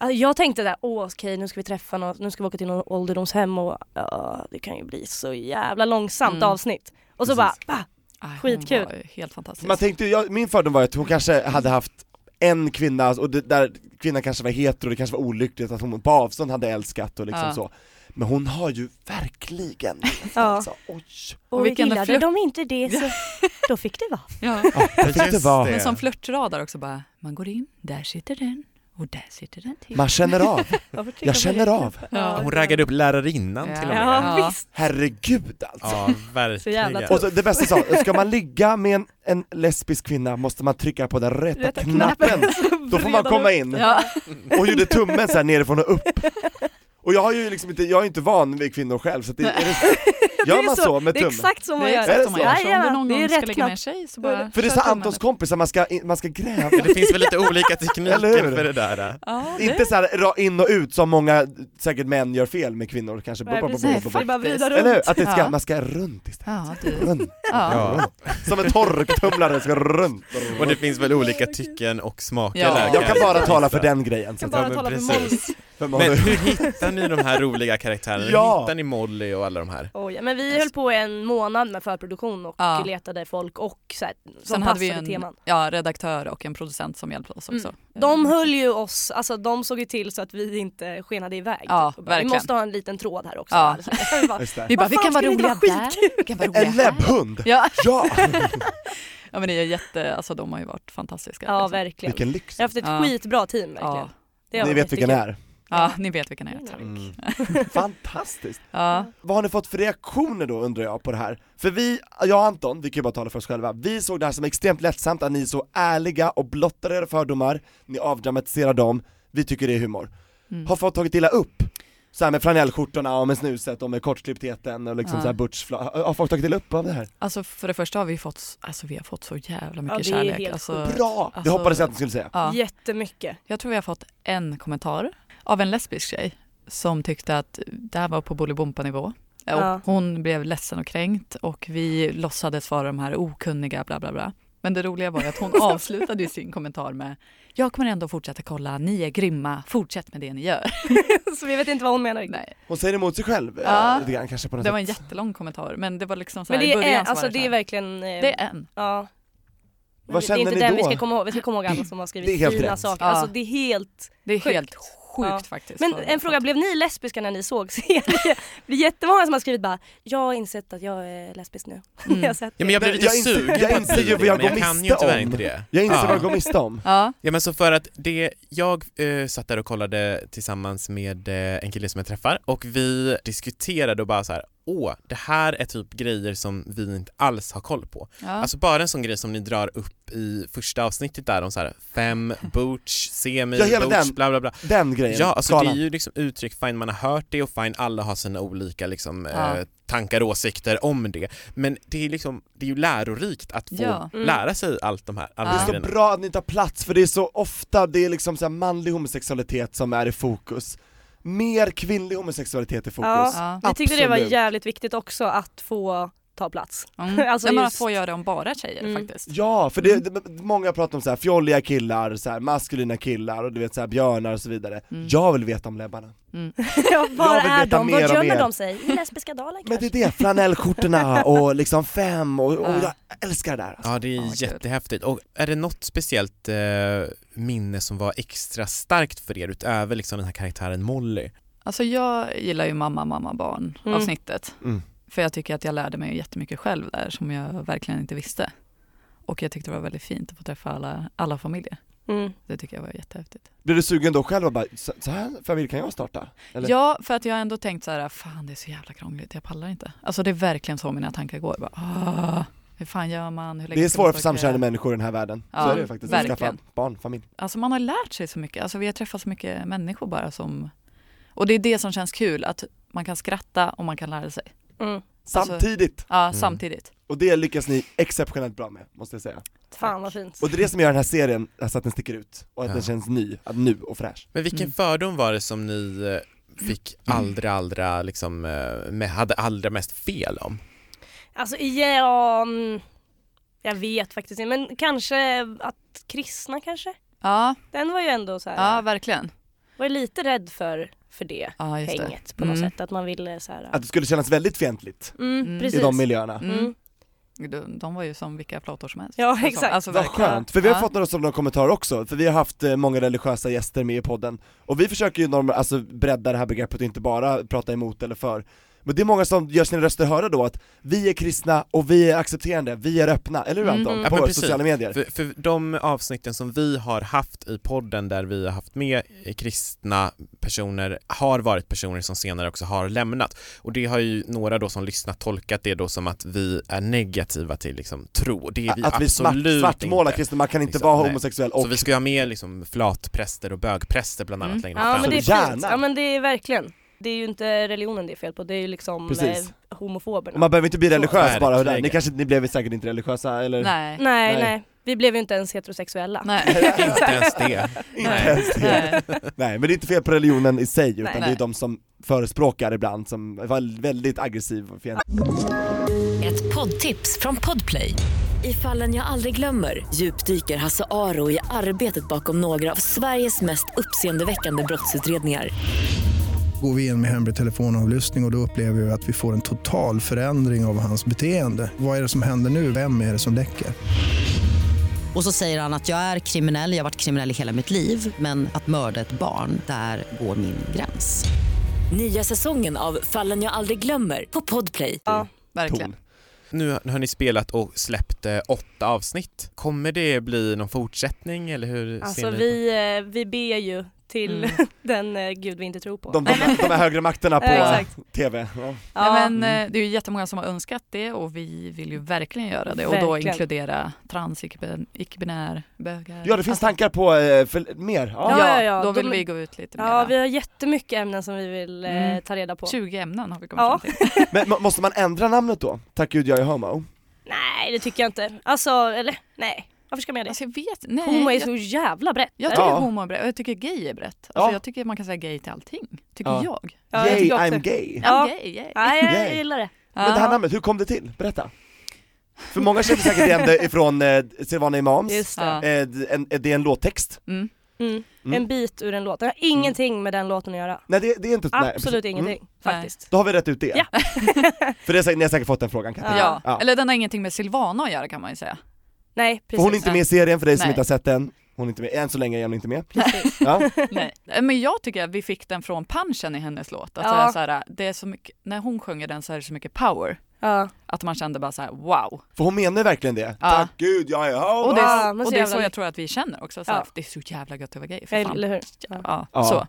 [SPEAKER 5] äh, jag tänkte där, åh okej nu ska vi träffa någon, nu ska vi åka till någon ålderdomshem och ja, det kan ju bli så jävla långsamt
[SPEAKER 4] Mm.
[SPEAKER 5] avsnitt. Och så
[SPEAKER 2] Precis.
[SPEAKER 5] bara, va?
[SPEAKER 4] Aj, hon
[SPEAKER 5] Skitkul.
[SPEAKER 4] var ju Helt fantastisk.
[SPEAKER 2] Man tänkte, ju- jag, min fördom var att hon kanske hade haft en kvinna, och det, där kvinnan kanske var hetero, det kanske var olyckligt att hon på avstånd hade älskat och liksom
[SPEAKER 4] Ja.
[SPEAKER 2] så Men hon har ju verkligen levt,
[SPEAKER 5] Ja.
[SPEAKER 2] alltså, oj!
[SPEAKER 5] Och,
[SPEAKER 4] Och vilken
[SPEAKER 5] gillade
[SPEAKER 4] flört.
[SPEAKER 5] de inte det så då fick det vara.
[SPEAKER 4] ja.
[SPEAKER 2] Jag fick det
[SPEAKER 3] Just
[SPEAKER 2] vara.
[SPEAKER 4] Men som flörtradar också bara, man går in, där sitter den och där sitter den till.
[SPEAKER 2] Man känner av, jag känner av,
[SPEAKER 4] Ja.
[SPEAKER 3] Hon raggade upp lärarinnan till och med.
[SPEAKER 5] Ja,
[SPEAKER 4] Ja.
[SPEAKER 5] visst.
[SPEAKER 2] herregud alltså!
[SPEAKER 3] Ja,
[SPEAKER 5] Så
[SPEAKER 3] verkligen.
[SPEAKER 5] jävla
[SPEAKER 2] Och så, det bästa sa, ska man ligga med en, en lesbisk kvinna måste man trycka på den rätta,
[SPEAKER 5] Rätta
[SPEAKER 2] knappen, då får man komma in
[SPEAKER 4] Ja.
[SPEAKER 2] och gjorde tummen så här nerifrån och upp. Och jag har ju liksom inte, jag är inte van vid kvinnor själv så att det, är det, Gör man så med
[SPEAKER 5] det är
[SPEAKER 2] tummen?
[SPEAKER 5] exakt så man
[SPEAKER 4] Det är
[SPEAKER 5] gör.
[SPEAKER 2] Är
[SPEAKER 4] exakt
[SPEAKER 2] det
[SPEAKER 4] som man
[SPEAKER 2] så?
[SPEAKER 4] gör. Så om du
[SPEAKER 5] Jajamän,
[SPEAKER 4] någon
[SPEAKER 5] det är
[SPEAKER 4] gång ska
[SPEAKER 5] rätt
[SPEAKER 4] ligga ner
[SPEAKER 5] knappt.
[SPEAKER 4] tjej så bara
[SPEAKER 2] För det
[SPEAKER 4] kör
[SPEAKER 2] sa
[SPEAKER 4] tummen.
[SPEAKER 2] Antons kompis att man ska, man ska gräva,
[SPEAKER 3] Det finns väl lite olika
[SPEAKER 2] Eller hur?
[SPEAKER 3] tekniker för det där. äh.
[SPEAKER 4] Ja, det-
[SPEAKER 2] inte såhär ra- in och ut som många, säkert män gör fel med kvinnor kanske.
[SPEAKER 5] Nej,
[SPEAKER 2] Bo- bo- bo-
[SPEAKER 5] precis.
[SPEAKER 2] bo- bo-
[SPEAKER 5] Det är bara att vrida
[SPEAKER 2] Eller hur?
[SPEAKER 5] runt.
[SPEAKER 2] Att det ska,
[SPEAKER 4] Ja.
[SPEAKER 2] man ska runt istället.
[SPEAKER 4] Ja, du.
[SPEAKER 2] Runt,
[SPEAKER 4] Ja.
[SPEAKER 3] Ja.
[SPEAKER 2] runt. Som en torktumlare ska runt.
[SPEAKER 3] Och det finns väl olika tycken och smaker
[SPEAKER 4] Ja.
[SPEAKER 3] där.
[SPEAKER 2] Jag kan bara tala för den grejen.
[SPEAKER 5] Kan
[SPEAKER 2] Så.
[SPEAKER 5] bara
[SPEAKER 3] men
[SPEAKER 5] tala för
[SPEAKER 3] precis.
[SPEAKER 5] Molly.
[SPEAKER 2] För man-
[SPEAKER 3] Men hur hittar ni de här roliga karaktärerna?
[SPEAKER 2] Ja.
[SPEAKER 3] Hur hittar ni Molly och alla de här?
[SPEAKER 5] Oj, ja, men vi höll på en månad med förproduktion och
[SPEAKER 4] Ja.
[SPEAKER 5] letade folk och så här, som
[SPEAKER 4] Sen
[SPEAKER 5] passade
[SPEAKER 4] hade vi en
[SPEAKER 5] teman.
[SPEAKER 4] ja, redaktör och en producent som hjälpte oss också.
[SPEAKER 5] Eh, De
[SPEAKER 4] Mm.
[SPEAKER 5] höll ju oss, alltså de såg ju till så att vi inte skenade iväg. typ.
[SPEAKER 4] Ja,
[SPEAKER 5] Och bara, vi
[SPEAKER 4] verkligen.
[SPEAKER 5] måste ha en liten tråd här också.
[SPEAKER 4] Ja.
[SPEAKER 5] Alltså, vi bara,
[SPEAKER 2] Just det.
[SPEAKER 4] Vi bara,
[SPEAKER 5] Vad
[SPEAKER 4] vi
[SPEAKER 5] fan,
[SPEAKER 4] kan vara
[SPEAKER 5] skulle det
[SPEAKER 4] roliga
[SPEAKER 5] inte vara
[SPEAKER 4] där,
[SPEAKER 5] skitkul?
[SPEAKER 4] vi kan vara roliga
[SPEAKER 2] En
[SPEAKER 4] här.
[SPEAKER 2] läbbhund!
[SPEAKER 4] Ja,
[SPEAKER 2] Ja!
[SPEAKER 4] ja men det är jätte, alltså de har ju varit fantastiska.
[SPEAKER 5] ja
[SPEAKER 4] liksom.
[SPEAKER 5] verkligen.
[SPEAKER 2] Vilken lyx!
[SPEAKER 5] Vi har haft ett
[SPEAKER 4] Ja.
[SPEAKER 5] skitbra team verkligen.
[SPEAKER 4] ja.
[SPEAKER 5] Det har
[SPEAKER 2] Ni
[SPEAKER 5] varit
[SPEAKER 2] vet vilka ni är.
[SPEAKER 5] jättekul.
[SPEAKER 4] ja, ni vet vilka ni är.
[SPEAKER 5] Mm.
[SPEAKER 2] Mm. Fantastiskt!
[SPEAKER 4] Ja.
[SPEAKER 2] Vad har ni fått för reaktioner då undrar jag på det här? För vi, jag och Anton, vi kan ju bara tala för oss själva, vi såg det här som extremt lättsamt att ni är så ärliga och blottar era fördomar, ni avdramatiserar dem, vi tycker det är humor.
[SPEAKER 4] Mm.
[SPEAKER 2] Har folk tagit illa upp? Så här med flanellskjortorna och med snuset och med kortklipptheten och liksom
[SPEAKER 4] Ja.
[SPEAKER 2] så här butchfla- har har folk tagit illa upp av det här?
[SPEAKER 4] Alltså för det första har vi fått, s- alltså vi har fått så jävla mycket
[SPEAKER 5] det är
[SPEAKER 4] kärlek.
[SPEAKER 5] helt
[SPEAKER 4] alltså,
[SPEAKER 2] Bra! Det
[SPEAKER 4] alltså-
[SPEAKER 2] hoppades jag att ni skulle säga.
[SPEAKER 4] ja.
[SPEAKER 5] Jättemycket.
[SPEAKER 4] Jag tror vi har fått en kommentar av en lesbisk tjej som tyckte att det här var på Bolibompa-nivå. Och
[SPEAKER 5] Ja.
[SPEAKER 4] Hon blev ledsen och kränkt och vi låtsades vara de här okunniga bla bla bla. Men det roliga var ju att hon avslutade ju sin kommentar med Jag kommer ändå fortsätta kolla, ni är grymma, fortsätt med det ni gör.
[SPEAKER 5] så vi vet inte vad hon menar riktigt.
[SPEAKER 4] Nej,
[SPEAKER 2] Hon säger emot sig själv,
[SPEAKER 4] Ja.
[SPEAKER 2] eh, lite grann kanske på något
[SPEAKER 4] det var en
[SPEAKER 2] sätt.
[SPEAKER 4] jättelång kommentar men det var liksom så här,
[SPEAKER 5] Men det
[SPEAKER 4] i början
[SPEAKER 5] är,
[SPEAKER 4] så
[SPEAKER 5] alltså,
[SPEAKER 4] var det,
[SPEAKER 5] det är
[SPEAKER 4] så här,
[SPEAKER 5] verkligen... eh,
[SPEAKER 4] det är en.
[SPEAKER 5] Ja. Men
[SPEAKER 2] Vad
[SPEAKER 5] det-
[SPEAKER 2] kände
[SPEAKER 5] det
[SPEAKER 2] ni
[SPEAKER 5] är inte där
[SPEAKER 2] då?
[SPEAKER 5] vi ska komma ihåg, vi ska komma ihåg alla som har
[SPEAKER 2] Det är
[SPEAKER 5] skrivit
[SPEAKER 2] helt
[SPEAKER 5] fina
[SPEAKER 2] rätt.
[SPEAKER 5] saker.
[SPEAKER 4] Ja.
[SPEAKER 5] Alltså det är helt...
[SPEAKER 4] Det är
[SPEAKER 5] Sjukt.
[SPEAKER 4] helt sjukt
[SPEAKER 5] Ja.
[SPEAKER 4] faktiskt.
[SPEAKER 5] Men
[SPEAKER 4] vad-
[SPEAKER 5] en fråga, blev ni lesbiska när ni såg serien? Det är jättemånga som har skrivit bara, jag har insett att jag är lesbisk nu.
[SPEAKER 4] Mm.
[SPEAKER 5] jag har sett
[SPEAKER 3] Ja, men jag blev
[SPEAKER 2] Jag
[SPEAKER 3] lite
[SPEAKER 2] inser-
[SPEAKER 3] sugen
[SPEAKER 2] jag
[SPEAKER 3] på att
[SPEAKER 2] inser
[SPEAKER 3] säga
[SPEAKER 2] ju vad
[SPEAKER 3] det,
[SPEAKER 2] jag
[SPEAKER 3] men
[SPEAKER 2] går
[SPEAKER 3] jag kan ju
[SPEAKER 2] miste
[SPEAKER 3] tyvärr
[SPEAKER 2] om.
[SPEAKER 3] inte det.
[SPEAKER 2] Jag inser
[SPEAKER 3] Ja.
[SPEAKER 2] vad jag går miste om.
[SPEAKER 4] Ja,
[SPEAKER 3] Ja men så för att det, jag eh, satt där och kollade tillsammans med eh, en kille som jag träffar och vi diskuterade och bara så här, åh det här är typ grejer som vi inte alls har koll på.
[SPEAKER 4] ja.
[SPEAKER 3] Alltså bara en sån grej som ni drar upp i första avsnittet där om så här fem, booch, semi,
[SPEAKER 2] Ja, hela
[SPEAKER 3] booch,
[SPEAKER 2] den
[SPEAKER 3] bla bla bla.
[SPEAKER 2] Den grejen,
[SPEAKER 3] Ja, alltså
[SPEAKER 2] skalan.
[SPEAKER 3] det är ju liksom uttryck, fine man har hört det och fine alla har sina olika liksom,
[SPEAKER 4] Ja.
[SPEAKER 3] eh, tankar och åsikter om det. Men det är, liksom, det är ju lärorikt att få
[SPEAKER 4] Ja.
[SPEAKER 5] Mm.
[SPEAKER 3] lära sig allt de här, alla de här
[SPEAKER 4] Ja.
[SPEAKER 2] Det är så
[SPEAKER 3] grejerna.
[SPEAKER 2] bra att ni tar plats för det är så ofta det är liksom så här manlig homosexualitet som är i fokus. Mer kvinnlig homosexualitet i fokus.
[SPEAKER 5] Ja.
[SPEAKER 4] ja.
[SPEAKER 5] Vi tyckte det var
[SPEAKER 2] Absolut.
[SPEAKER 5] jävligt viktigt också att få ta plats.
[SPEAKER 4] Mm.
[SPEAKER 5] Alltså
[SPEAKER 4] Nej, men
[SPEAKER 5] just-
[SPEAKER 4] att få göra det om bara tjejer
[SPEAKER 5] Mm.
[SPEAKER 4] faktiskt.
[SPEAKER 2] Ja, för det,
[SPEAKER 4] Mm.
[SPEAKER 2] det, många pratar om så här fjolliga killar, så här maskulina killar och du vet så här björnar och så vidare.
[SPEAKER 4] Mm.
[SPEAKER 2] Jag vill veta om läbbarna.
[SPEAKER 5] Ja, var
[SPEAKER 2] Jag vill
[SPEAKER 5] är
[SPEAKER 2] veta
[SPEAKER 5] de?
[SPEAKER 2] mer
[SPEAKER 5] Var
[SPEAKER 2] och
[SPEAKER 5] gömmer
[SPEAKER 2] mer.
[SPEAKER 5] de sig? I lesbiska dalar
[SPEAKER 2] Men det
[SPEAKER 5] kanske?
[SPEAKER 2] är det, flanellskjortorna och liksom fem och, och jag
[SPEAKER 4] Ja.
[SPEAKER 2] älskar det där. Alltså.
[SPEAKER 3] Ja det är
[SPEAKER 4] Ja, gud.
[SPEAKER 3] jättehäftigt. Och är det något speciellt eh, minne som var extra starkt för er utöver liksom den här karaktären Molly?
[SPEAKER 4] Alltså jag gillar ju mamma, mamma, barn
[SPEAKER 5] Mm.
[SPEAKER 4] avsnittet.
[SPEAKER 2] Mm.
[SPEAKER 4] För jag tycker att jag lärde mig jättemycket själv där som jag verkligen inte visste. Och jag tyckte det var väldigt fint att få träffa alla, alla familjer.
[SPEAKER 5] Mm.
[SPEAKER 4] Det tycker jag var jättehäftigt.
[SPEAKER 2] Blir du sugen då själv och bara, så, så här familj kan jag starta? Eller?
[SPEAKER 4] Ja, för att jag har ändå tänkt så här, fan det är så jävla krångligt, jag pallar inte. Alltså det är verkligen så mina tankar går. Bara, ah, hur fan gör man? Hur länge
[SPEAKER 2] Det är
[SPEAKER 4] ska man
[SPEAKER 2] svårare för
[SPEAKER 4] orka?
[SPEAKER 2] samkönade människor i den här världen.
[SPEAKER 4] Ja,
[SPEAKER 2] så är det faktiskt. Att Skaffa
[SPEAKER 4] verkligen.
[SPEAKER 2] barn, familj.
[SPEAKER 4] Alltså man har lärt sig så mycket. Alltså vi har träffat så mycket människor bara som... Och det är det som känns kul, att man kan skratta och man kan lära sig.
[SPEAKER 5] Mm.
[SPEAKER 4] Alltså-
[SPEAKER 2] Samtidigt!
[SPEAKER 4] Ja,
[SPEAKER 3] Mm.
[SPEAKER 4] samtidigt.
[SPEAKER 2] Och det lyckas ni exceptionellt bra med, måste jag säga.
[SPEAKER 5] Fan vad fint.
[SPEAKER 2] Och det är det som gör den här serien, alltså att den sticker ut och att
[SPEAKER 3] Ja.
[SPEAKER 2] den känns ny, att nu och fräsch.
[SPEAKER 3] Men vilken
[SPEAKER 4] Mm.
[SPEAKER 3] fördom var det som ni eh, fick
[SPEAKER 2] Mm.
[SPEAKER 3] allra, allra, liksom, eh, med, hade allra mest fel om?
[SPEAKER 5] Alltså ja, mm, jag vet faktiskt inte men kanske att kristna kanske?
[SPEAKER 4] Ja,
[SPEAKER 5] Den var ju ändå så här,
[SPEAKER 4] ja verkligen.
[SPEAKER 5] var ju lite rädd för, för det
[SPEAKER 4] Ja, just det.
[SPEAKER 5] hänget på något
[SPEAKER 4] Mm.
[SPEAKER 5] sätt. Att man ville så här,
[SPEAKER 2] Att det skulle kännas väldigt fientligt
[SPEAKER 5] mm,
[SPEAKER 4] Mm.
[SPEAKER 5] precis.
[SPEAKER 2] i de miljöerna.
[SPEAKER 4] Mm.
[SPEAKER 5] Mm.
[SPEAKER 4] De, de var ju som vilka flator som helst.
[SPEAKER 5] Ja,
[SPEAKER 4] Alltså,
[SPEAKER 5] exakt.
[SPEAKER 4] Alltså,
[SPEAKER 2] Vad
[SPEAKER 4] verkligen.
[SPEAKER 2] skönt, för vi har
[SPEAKER 4] Ja.
[SPEAKER 2] fått några sådana kommentarer också, för vi har haft eh, många religiösa gäster med i podden och vi försöker ju norm- alltså bredda det här begreppet och inte bara prata emot eller för. Men det är många som gör sina röster hörda då att vi är kristna och vi är accepterande, vi är öppna, eller hur
[SPEAKER 4] Mhm.
[SPEAKER 2] Anton?
[SPEAKER 3] Ja, men
[SPEAKER 2] På
[SPEAKER 3] precis.
[SPEAKER 2] sociala medier.
[SPEAKER 3] För, för de avsnitten som vi har haft i podden där vi har haft med eh, kristna personer har varit personer som senare också har lämnat och det har ju några då som lyssnat tolkat det då som att vi är negativa till liksom tro och det är vi
[SPEAKER 2] att vi
[SPEAKER 3] absolut
[SPEAKER 2] svart, svartmålar
[SPEAKER 3] inte.
[SPEAKER 2] kristna, man kan inte
[SPEAKER 3] Liksom,
[SPEAKER 2] vara
[SPEAKER 3] nej.
[SPEAKER 2] homosexuell och
[SPEAKER 3] Så vi ska ju ha med liksom flatpräster och bögpräster bland annat
[SPEAKER 4] Mm.
[SPEAKER 3] längre
[SPEAKER 5] Ja
[SPEAKER 3] fram.
[SPEAKER 2] Alltså,
[SPEAKER 5] men det är
[SPEAKER 2] Gärna.
[SPEAKER 5] fint. Ja men det är verkligen. Det är ju inte religionen det är fel på, det är ju liksom
[SPEAKER 2] Precis.
[SPEAKER 5] eh, homofoberna.
[SPEAKER 2] Man behöver inte bli
[SPEAKER 5] Så.
[SPEAKER 2] religiös bara av det. här.
[SPEAKER 3] Verkligen.
[SPEAKER 2] Ni, kanske, ni blev säkert inte religiösa eller?
[SPEAKER 4] Nej.
[SPEAKER 5] nej,
[SPEAKER 2] Nej.
[SPEAKER 5] nej, Vi blev ju inte ens heterosexuella.
[SPEAKER 4] Nej.
[SPEAKER 3] Inte ens det.
[SPEAKER 2] Inte
[SPEAKER 4] Nej.
[SPEAKER 2] ens det.
[SPEAKER 4] Nej.
[SPEAKER 2] Nej men det är inte fel på religionen i sig utan
[SPEAKER 4] Nej.
[SPEAKER 2] det är de som förespråkar ibland som var väldigt aggressiv och fientlig.
[SPEAKER 1] Ett poddtips från Podplay. I fallen jag aldrig glömmer djupdyker Hasse Aro i arbetet bakom några av Sveriges mest uppseendeväckande brottsutredningar.
[SPEAKER 6] Går vi in med hemlig telefonavlyssning och, och då upplever vi att vi får en total förändring av hans beteende. Vad är det som händer nu? Vem är det som läcker?
[SPEAKER 7] Och så säger han att jag är kriminell, jag har varit kriminell i hela mitt liv men att mörda ett barn, där går min gräns.
[SPEAKER 1] Nya säsongen av Fallen jag aldrig glömmer på Podplay.
[SPEAKER 4] Verkligen.
[SPEAKER 2] ton.
[SPEAKER 3] Nu har ni spelat och släppt eh, åtta avsnitt. Kommer det bli någon fortsättning eller hur
[SPEAKER 5] Alltså
[SPEAKER 3] ser ni på-
[SPEAKER 5] vi, eh, vi ber ju till
[SPEAKER 4] Mm.
[SPEAKER 5] den eh, gud vi inte tror på.
[SPEAKER 2] De, de, de här högre makterna på
[SPEAKER 5] Ja, exakt.
[SPEAKER 2] TV. Ja.
[SPEAKER 5] ja.
[SPEAKER 4] Nej, men,
[SPEAKER 2] Mm.
[SPEAKER 4] eh, det är ju jättemånga som har önskat det och vi vill ju verkligen göra det och då
[SPEAKER 5] Verkligen.
[SPEAKER 4] inkludera trans, icke- icke-binär, bögar.
[SPEAKER 2] ja det finns tankar på eh, för, mer. Ja.
[SPEAKER 4] Ja, ja,
[SPEAKER 5] Ja, ja,
[SPEAKER 4] då vill
[SPEAKER 5] de-
[SPEAKER 4] vi gå ut lite
[SPEAKER 5] ja,
[SPEAKER 4] mer.
[SPEAKER 5] vi har jättemycket ämnen som vi vill eh,
[SPEAKER 4] Mm.
[SPEAKER 5] ta reda på.
[SPEAKER 4] 20 ämnen har vi kommit
[SPEAKER 5] Ja.
[SPEAKER 4] fram till.
[SPEAKER 2] Men må- måste man ändra namnet då? Tack gud jag är homo.
[SPEAKER 5] Nej, det tycker jag inte. Alltså, eller nej. Varför ska man göra det?
[SPEAKER 4] Alltså jag vet nej,
[SPEAKER 5] Homo är
[SPEAKER 4] jag-
[SPEAKER 5] så jävla brett.
[SPEAKER 4] Jag
[SPEAKER 2] Ja.
[SPEAKER 4] tycker homo är brett och jag tycker gay är brett. Alltså
[SPEAKER 2] Ja.
[SPEAKER 4] jag tycker man kan säga gay till allting, tycker
[SPEAKER 2] Ja.
[SPEAKER 4] jag.
[SPEAKER 5] Ja, jag
[SPEAKER 2] Yay
[SPEAKER 5] tycker också-
[SPEAKER 2] I'm gay.
[SPEAKER 5] Ja.
[SPEAKER 4] Ja. gay, gay.
[SPEAKER 5] Nej, jag
[SPEAKER 2] Yay.
[SPEAKER 5] gillar det.
[SPEAKER 2] Men det här
[SPEAKER 4] Ja.
[SPEAKER 2] namnet, hur kom det till? Berätta. För många känner säkert igen det ifrån eh, Silvana Imams,
[SPEAKER 5] Just det.
[SPEAKER 4] Ja.
[SPEAKER 2] eh, d- en, eh, det är en låttext.
[SPEAKER 4] Mm.
[SPEAKER 5] Mm.
[SPEAKER 2] Mm.
[SPEAKER 5] En bit ur en låt. Det har ingenting med den låten att göra.
[SPEAKER 2] Nej det, det är inte... nej,
[SPEAKER 5] Absolut
[SPEAKER 2] precis.
[SPEAKER 5] ingenting
[SPEAKER 2] Mm.
[SPEAKER 5] faktiskt.
[SPEAKER 2] Då har vi rätt ut det.
[SPEAKER 5] Ja.
[SPEAKER 2] För det är, säkert- ni har säkert fått den frågan Katarina.
[SPEAKER 4] Ja.
[SPEAKER 2] Ja.
[SPEAKER 4] eller den har ingenting med Silvana att göra kan man ju säga.
[SPEAKER 5] Nej, precis.
[SPEAKER 2] För hon är inte med i serien för dig som
[SPEAKER 4] Nej.
[SPEAKER 2] inte har sett den. Hon är inte med, än så länge är hon inte med.
[SPEAKER 5] Precis.
[SPEAKER 2] Ja.
[SPEAKER 4] Nej. Eh, Men jag tycker att vi fick den från punchen i hennes låt. Att
[SPEAKER 5] Ja.
[SPEAKER 4] det är så här, det är så mycket, när hon sjunger den så är det så mycket power.
[SPEAKER 5] Ja.
[SPEAKER 4] Att man kände bara så här, wow.
[SPEAKER 2] För hon menar ju verkligen det.
[SPEAKER 4] Ja.
[SPEAKER 2] Tack gud, jag är homo!
[SPEAKER 4] Och det, är-
[SPEAKER 5] Ja, men så
[SPEAKER 4] och det är
[SPEAKER 5] jävla
[SPEAKER 4] så jag
[SPEAKER 5] mycket.
[SPEAKER 4] tror att vi känner också. Så här,
[SPEAKER 5] Ja.
[SPEAKER 4] Det är så jävla gött att vara gay. För fan.
[SPEAKER 5] Eller hur?
[SPEAKER 4] Ja,
[SPEAKER 2] Ja.
[SPEAKER 4] Så.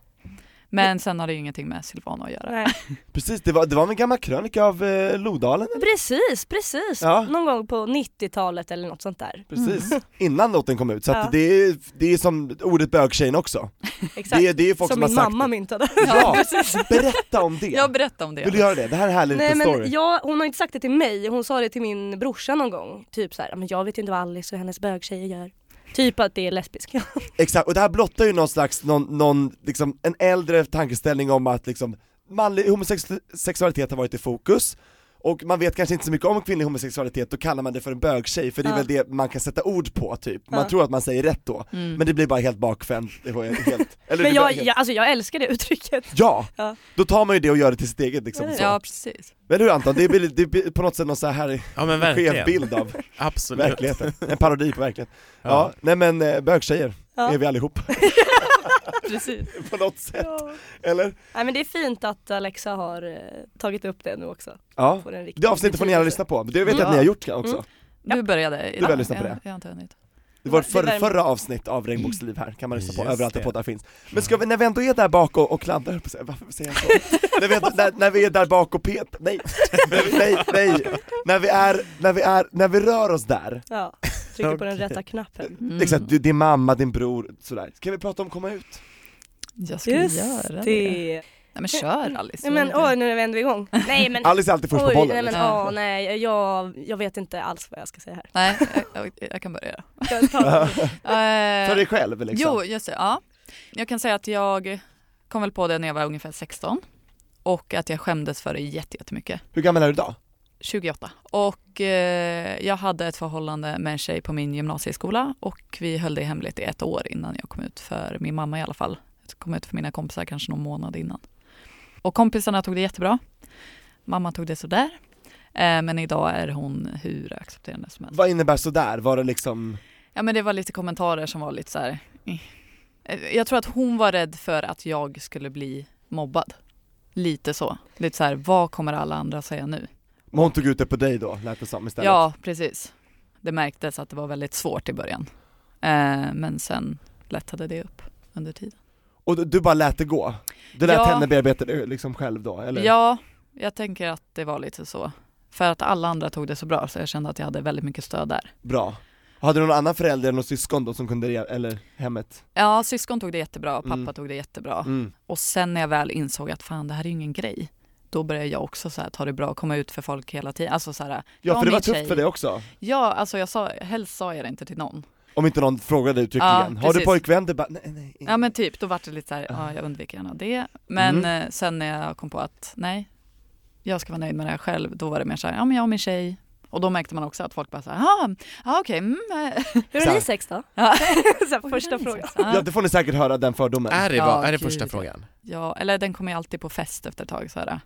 [SPEAKER 4] Men sen har det ju ingenting med Silvana att göra.
[SPEAKER 5] Nej.
[SPEAKER 2] Precis, det var, det var en gammal krönika av eh, Lodalen.
[SPEAKER 5] Precis, precis.
[SPEAKER 2] Ja.
[SPEAKER 5] Någon gång på 90-talet eller något sånt där.
[SPEAKER 2] Precis, innan låten kom ut. Så att
[SPEAKER 5] Ja.
[SPEAKER 2] det, är, det är som ordet bögtjejen också.
[SPEAKER 5] Exakt.
[SPEAKER 2] Det är, det är folk som,
[SPEAKER 5] som
[SPEAKER 2] har
[SPEAKER 5] min
[SPEAKER 2] sagt
[SPEAKER 5] mamma myntade.
[SPEAKER 2] det. Ja, berätta om det!
[SPEAKER 4] Jag berättar om det.
[SPEAKER 2] Vill du göra det? Det här är en härlig
[SPEAKER 5] Nej
[SPEAKER 2] liten
[SPEAKER 5] men
[SPEAKER 2] story.
[SPEAKER 5] jag, hon har inte sagt det till mig, hon sa det till min brorsa någon gång. Typ så här, men jag vet ju inte vad Alice och hennes bögtjejer gör. Typ att det är lesbisk.
[SPEAKER 2] Exakt, och det här blottar ju någon slags, någon, någon liksom, en äldre tankeställning om att liksom, manlig homosexualitet har varit i fokus, och man vet kanske inte så mycket om kvinnlig homosexualitet, då kallar man det för en bögtjej, för det är
[SPEAKER 5] Ja.
[SPEAKER 2] väl det man kan sätta ord på typ, man
[SPEAKER 5] Ja.
[SPEAKER 2] tror att man säger rätt då,
[SPEAKER 4] Mm.
[SPEAKER 2] men det blir bara helt bakvänt, det var ju helt, eller det
[SPEAKER 5] Men
[SPEAKER 2] blir
[SPEAKER 5] jag,
[SPEAKER 2] helt,
[SPEAKER 5] jag, alltså jag älskar det uttrycket.
[SPEAKER 2] Ja!
[SPEAKER 5] Ja.
[SPEAKER 2] Då tar man ju det och gör det till sitt eget liksom så.
[SPEAKER 4] Ja, precis.
[SPEAKER 2] Eller hur Anton? Det blir, det blir på något sätt någon så här
[SPEAKER 3] Ja
[SPEAKER 2] skev
[SPEAKER 3] men verkligen,
[SPEAKER 2] bild av
[SPEAKER 3] absolut.
[SPEAKER 2] verkligheten, en parodi på verkligheten. Ja,
[SPEAKER 3] Ja.
[SPEAKER 2] nej men eh, bögtjejer
[SPEAKER 5] Ja.
[SPEAKER 2] är vi allihop
[SPEAKER 4] precis.
[SPEAKER 2] på något sätt, eller?
[SPEAKER 5] Nej men det är fint att Alexa har eh, tagit upp det nu också.
[SPEAKER 2] Ja,
[SPEAKER 5] På den riktiga
[SPEAKER 2] Det avsnittet får ni gärna
[SPEAKER 5] betydelsen.
[SPEAKER 2] lyssna på, det vet jag
[SPEAKER 4] Mm.
[SPEAKER 2] att ni har gjort också.
[SPEAKER 4] Du började.
[SPEAKER 2] Du började lyssna på det.
[SPEAKER 4] Jag, jag har inte hunnit.
[SPEAKER 2] Det var
[SPEAKER 5] Det
[SPEAKER 2] för,
[SPEAKER 5] värmer.
[SPEAKER 2] förra avsnitt av Regnbågsliv här, kan man lyssna på
[SPEAKER 3] Just
[SPEAKER 2] överallt där
[SPEAKER 3] det.
[SPEAKER 2] poddar finns. Men ska vi, när vi ändå är där bak och, och kladdar, höll på att säga, varför säger jag så? när, vi, är- när, när vi är där bak och pet, nej, nej, nej, nej. När, vi är, när vi är, när vi rör oss där,
[SPEAKER 5] Ja, trycker på den
[SPEAKER 3] Okej.
[SPEAKER 5] rätta knappen.
[SPEAKER 4] Mm.
[SPEAKER 2] exakt, du, din mamma, din bror, sådär. Kan vi prata om komma ut?
[SPEAKER 4] Mm. Jag skulle göra det. Nej men kör Alice.
[SPEAKER 5] Nej men åh, nu vänder vi igång. Nej men
[SPEAKER 2] Alice är alltid först på
[SPEAKER 5] oj,
[SPEAKER 2] bollen.
[SPEAKER 5] nej men
[SPEAKER 2] liksom.
[SPEAKER 4] liksom.
[SPEAKER 5] åh nej, jag, jag vet inte alls vad jag ska säga här.
[SPEAKER 4] Nej, jag, jag, jag kan börja.
[SPEAKER 5] Jag tar-
[SPEAKER 4] Eh,
[SPEAKER 2] För liksom. dig själv liksom.
[SPEAKER 4] Jo, just det. Ja. Jag kan säga att jag kom väl på det när jag var ungefär 16 och att jag skämdes för det jätte- jättemycket.
[SPEAKER 2] Hur gammal är du idag?
[SPEAKER 4] 28. Och eh, jag hade ett förhållande med en tjej på min gymnasieskola och vi höll det hemligt i ett år innan jag kom ut för min mamma i alla fall. Jag kom ut för mina kompisar kanske någon månad innan. Och kompisarna tog det jättebra. Mamma tog det sådär. Eh, men idag är hon hur accepterande som helst.
[SPEAKER 2] Vad innebär sådär? Var det liksom,
[SPEAKER 4] Ja men det var lite kommentarer som var lite så här. eh. Jag tror att hon var rädd för att jag skulle bli mobbad. Lite så. Lite så här, vad kommer alla andra säga nu?
[SPEAKER 2] men hon tog ut det på dig då, lät det som istället?
[SPEAKER 4] Ja, precis. Det märktes att det var väldigt svårt i början. Eh, men sen lättade det upp under tiden.
[SPEAKER 2] Och du, du bara lät det gå? Du lät
[SPEAKER 4] Ja.
[SPEAKER 2] henne bearbeta det liksom själv då, eller?
[SPEAKER 4] Ja, jag tänker att det var lite så. För att alla andra tog det så bra så jag kände att jag hade väldigt mycket stöd där.
[SPEAKER 2] Bra. Hade du någon annan förälder eller någon syskon då som kunde det, eller hemmet?
[SPEAKER 4] Ja, syskon tog det jättebra och pappa
[SPEAKER 2] Mm.
[SPEAKER 4] tog det jättebra.
[SPEAKER 2] Mm.
[SPEAKER 4] Och sen när jag väl insåg att fan det här är ju ingen grej, då började jag också så här, ta det bra och komma ut för folk hela tiden. Alltså så här,
[SPEAKER 2] Ja
[SPEAKER 4] jag
[SPEAKER 2] för det var
[SPEAKER 4] och min
[SPEAKER 2] tufft
[SPEAKER 4] tjej-
[SPEAKER 2] för dig också,
[SPEAKER 4] Ja, alltså jag sa, helst sa jag det inte till någon.
[SPEAKER 2] om inte någon frågade uttryckligen.
[SPEAKER 4] Ja,
[SPEAKER 2] Har du
[SPEAKER 4] precis.
[SPEAKER 2] pojkvän? Det bara, nej nej.
[SPEAKER 4] Ja men typ, då vart det lite så här, ja jag undviker gärna det. Men eh, sen när jag kom på att nej, jag ska vara nöjd med det här själv, då var det mer så här, ja men jag och min tjej. Och då märkte man också att folk bara så här, "Ah, ja okej, mm, eh."
[SPEAKER 5] Hur
[SPEAKER 2] Så
[SPEAKER 5] har
[SPEAKER 2] här.
[SPEAKER 5] ni sex då?
[SPEAKER 4] Ja.
[SPEAKER 5] så här, första frågan.
[SPEAKER 4] Ja.
[SPEAKER 2] Ja det får ni säkert höra den fördomen,
[SPEAKER 3] Är det,
[SPEAKER 4] Ja,
[SPEAKER 3] va- är det
[SPEAKER 4] gud,
[SPEAKER 3] första
[SPEAKER 4] ja.
[SPEAKER 3] frågan?
[SPEAKER 4] Ja, eller den kommer ju alltid på fest efter ett tag så här.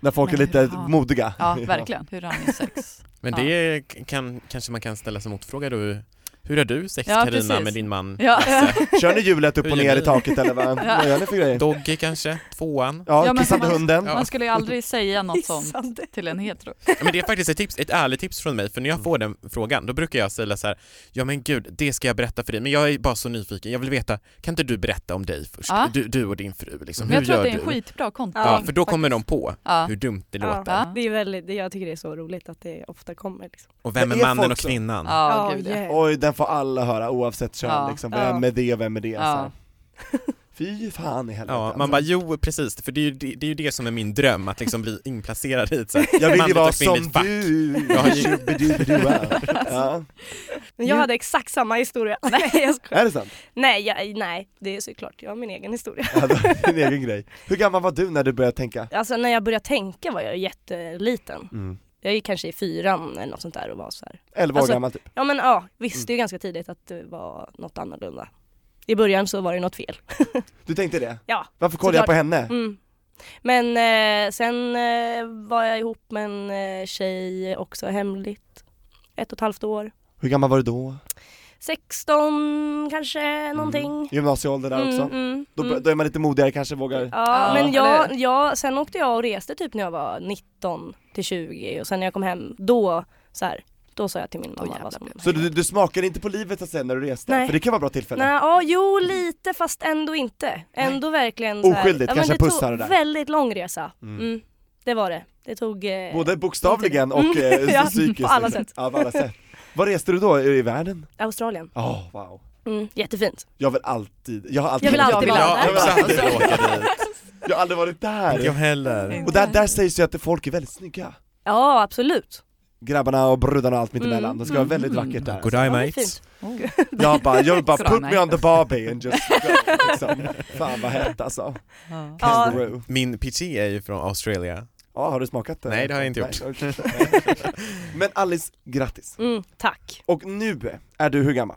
[SPEAKER 2] när folk är
[SPEAKER 4] Men
[SPEAKER 2] lite
[SPEAKER 4] hur har-
[SPEAKER 2] modiga.
[SPEAKER 4] Ja, verkligen. Hur har ni sex?
[SPEAKER 3] Men
[SPEAKER 4] Ja.
[SPEAKER 3] det kan, kanske man kan ställa som motfråga då. Hur har du sex
[SPEAKER 4] Ja,
[SPEAKER 3] Carina
[SPEAKER 4] precis.
[SPEAKER 3] med din man?
[SPEAKER 4] Ja,
[SPEAKER 2] Kör ni hjulet upp
[SPEAKER 3] Hur
[SPEAKER 2] och
[SPEAKER 3] gör
[SPEAKER 2] ner
[SPEAKER 3] ni?
[SPEAKER 2] i taket eller vad, vad gör ni för grejer?
[SPEAKER 3] Doggy kanske? Tvåan?
[SPEAKER 2] Ja,
[SPEAKER 4] Ja, men
[SPEAKER 2] kissande
[SPEAKER 4] man-
[SPEAKER 2] hunden.
[SPEAKER 3] Ja.
[SPEAKER 4] man skulle ju aldrig säga något sånt
[SPEAKER 5] Hissande.
[SPEAKER 4] till en hetero.
[SPEAKER 3] Ja, men det är faktiskt ett, tips, ett ärligt tips från mig, för när jag får den frågan då brukar jag säga så här, ja men gud, det ska jag berätta för dig, men jag är bara så nyfiken, jag vill veta, kan inte du berätta om dig först?
[SPEAKER 4] Ja.
[SPEAKER 3] Du, du och din fru, liksom.
[SPEAKER 4] Men jag
[SPEAKER 3] hur
[SPEAKER 4] tror
[SPEAKER 3] gör
[SPEAKER 4] att det är
[SPEAKER 3] du?
[SPEAKER 4] en skitbra konto.
[SPEAKER 3] Ja, för då kommer de
[SPEAKER 4] faktiskt.
[SPEAKER 3] på
[SPEAKER 4] Ja.
[SPEAKER 3] hur dumt det
[SPEAKER 5] Ja.
[SPEAKER 3] låter.
[SPEAKER 4] Ja.
[SPEAKER 5] Det är väldigt, det- jag tycker det är så roligt att det ofta kommer. Liksom.
[SPEAKER 3] Och vem
[SPEAKER 2] Det
[SPEAKER 3] är
[SPEAKER 2] är
[SPEAKER 3] mannen
[SPEAKER 2] folk
[SPEAKER 3] och
[SPEAKER 2] så.
[SPEAKER 3] kvinnan?
[SPEAKER 4] Ja, gud ja.
[SPEAKER 5] yeah.
[SPEAKER 2] Oj, den får alla höra oavsett kön
[SPEAKER 4] Ja.
[SPEAKER 2] liksom,
[SPEAKER 5] Ja.
[SPEAKER 2] vem är det och vem är det?
[SPEAKER 4] Ja.
[SPEAKER 2] Så. här. Fy fan i helvete
[SPEAKER 3] Ja, man bara
[SPEAKER 2] alltså.
[SPEAKER 3] jo precis, för det är ju det, det, är ju det som är min dröm, att liksom bli inplacerad i ett så här
[SPEAKER 2] Jag vill ju
[SPEAKER 3] manligt
[SPEAKER 2] vara
[SPEAKER 3] och
[SPEAKER 2] som
[SPEAKER 3] kvinnligt fack.
[SPEAKER 2] du!
[SPEAKER 3] Jag har ju-
[SPEAKER 2] Tjubidubidua. ja.
[SPEAKER 5] Men jag hade exakt samma historia. nej, jag skojar.
[SPEAKER 2] Är det sant?
[SPEAKER 5] nej, jag, nej, det är såklart, jag har min egen historia.
[SPEAKER 2] Ja, det är din egen grej. Hur gammal var du när du började tänka?
[SPEAKER 5] Alltså när jag började tänka var jag jätteliten.
[SPEAKER 2] Mm.
[SPEAKER 5] Jag gick kanske i fyran eller något sånt där och var så här.
[SPEAKER 2] 11
[SPEAKER 5] Alltså-
[SPEAKER 2] år gammal typ.
[SPEAKER 5] Ja men ja, visste ju ganska tidigt att det var något annorlunda. I början så var det något fel.
[SPEAKER 2] Du tänkte det?
[SPEAKER 5] Ja,
[SPEAKER 2] Varför kollar jag på
[SPEAKER 5] såklart.
[SPEAKER 2] henne?
[SPEAKER 5] Mm. Men eh, sen eh, var jag ihop med en eh, tjej också hemligt. Ett och ett halvt år.
[SPEAKER 2] Hur gammal var du då?
[SPEAKER 5] 16 kanske Mm. någonting.
[SPEAKER 2] Mm. Gymnasieålder där också?
[SPEAKER 5] mm,
[SPEAKER 2] Då, bör-
[SPEAKER 5] mm.
[SPEAKER 2] då är man lite modigare kanske, vågar...
[SPEAKER 5] Ja,
[SPEAKER 4] Ja,
[SPEAKER 5] men jag,
[SPEAKER 4] eller-
[SPEAKER 5] jag, sen åkte jag och reste typ när jag var 19 till 20 och sen när jag kom hem då så här, då sa jag till min mamma
[SPEAKER 4] jävlar
[SPEAKER 5] vad som
[SPEAKER 4] blev det.
[SPEAKER 2] Så du, du smakade inte på livet så att säga när du reste?
[SPEAKER 5] Nej.
[SPEAKER 2] För det kan vara bra tillfälle.
[SPEAKER 5] Nej, ja, jo lite fast ändå inte. Ändå verkligen så här-
[SPEAKER 2] Oskyldigt,
[SPEAKER 5] ja, men
[SPEAKER 2] kanske
[SPEAKER 5] det
[SPEAKER 2] pussar det där.
[SPEAKER 5] tog väldigt lång resa.
[SPEAKER 2] Mm.
[SPEAKER 5] Mm. Det var det. Det tog... Eh,
[SPEAKER 2] Både bokstavligen och eh,
[SPEAKER 5] Mm. Ja,
[SPEAKER 2] psykiskt.
[SPEAKER 5] på alla
[SPEAKER 2] liksom.
[SPEAKER 5] sätt.
[SPEAKER 2] Ja, på alla sätt. Var reste du då? I världen?
[SPEAKER 5] Australien.
[SPEAKER 2] Åh, wow.
[SPEAKER 5] Mm. Jättefint.
[SPEAKER 2] Jag vill alltid, jag har alltid
[SPEAKER 5] Jag vill alltid
[SPEAKER 3] Jag
[SPEAKER 5] vara där.
[SPEAKER 3] har också aldrig
[SPEAKER 2] Jag,
[SPEAKER 3] åkt dit.
[SPEAKER 2] jag har aldrig varit där.
[SPEAKER 3] Jag
[SPEAKER 4] Mm.
[SPEAKER 3] heller.
[SPEAKER 2] Och där, där sägs ju att folk är väldigt snygga.
[SPEAKER 5] Ja, absolut.
[SPEAKER 2] Grabbarna och brudarna och allt mittemellan.
[SPEAKER 5] Mm.
[SPEAKER 2] Det ska vara väldigt vackert där.
[SPEAKER 3] Good eye
[SPEAKER 5] Ja, det är
[SPEAKER 3] mates.
[SPEAKER 5] fint.
[SPEAKER 4] Oh.
[SPEAKER 2] Jag bara, jag vill bara put me
[SPEAKER 4] Corona.
[SPEAKER 2] on the Barbie and just go, liksom. Fan vad hett alltså.
[SPEAKER 4] Ja.
[SPEAKER 5] Ja.
[SPEAKER 2] Kangaroo.
[SPEAKER 3] Min pitché är ju från Australien.
[SPEAKER 2] Ja, har du smakat det?
[SPEAKER 3] Nej, det har jag inte gjort.
[SPEAKER 2] Nej, okej. Men Alice, grattis.
[SPEAKER 5] Mm, tack.
[SPEAKER 2] Och nu är du hur gammal?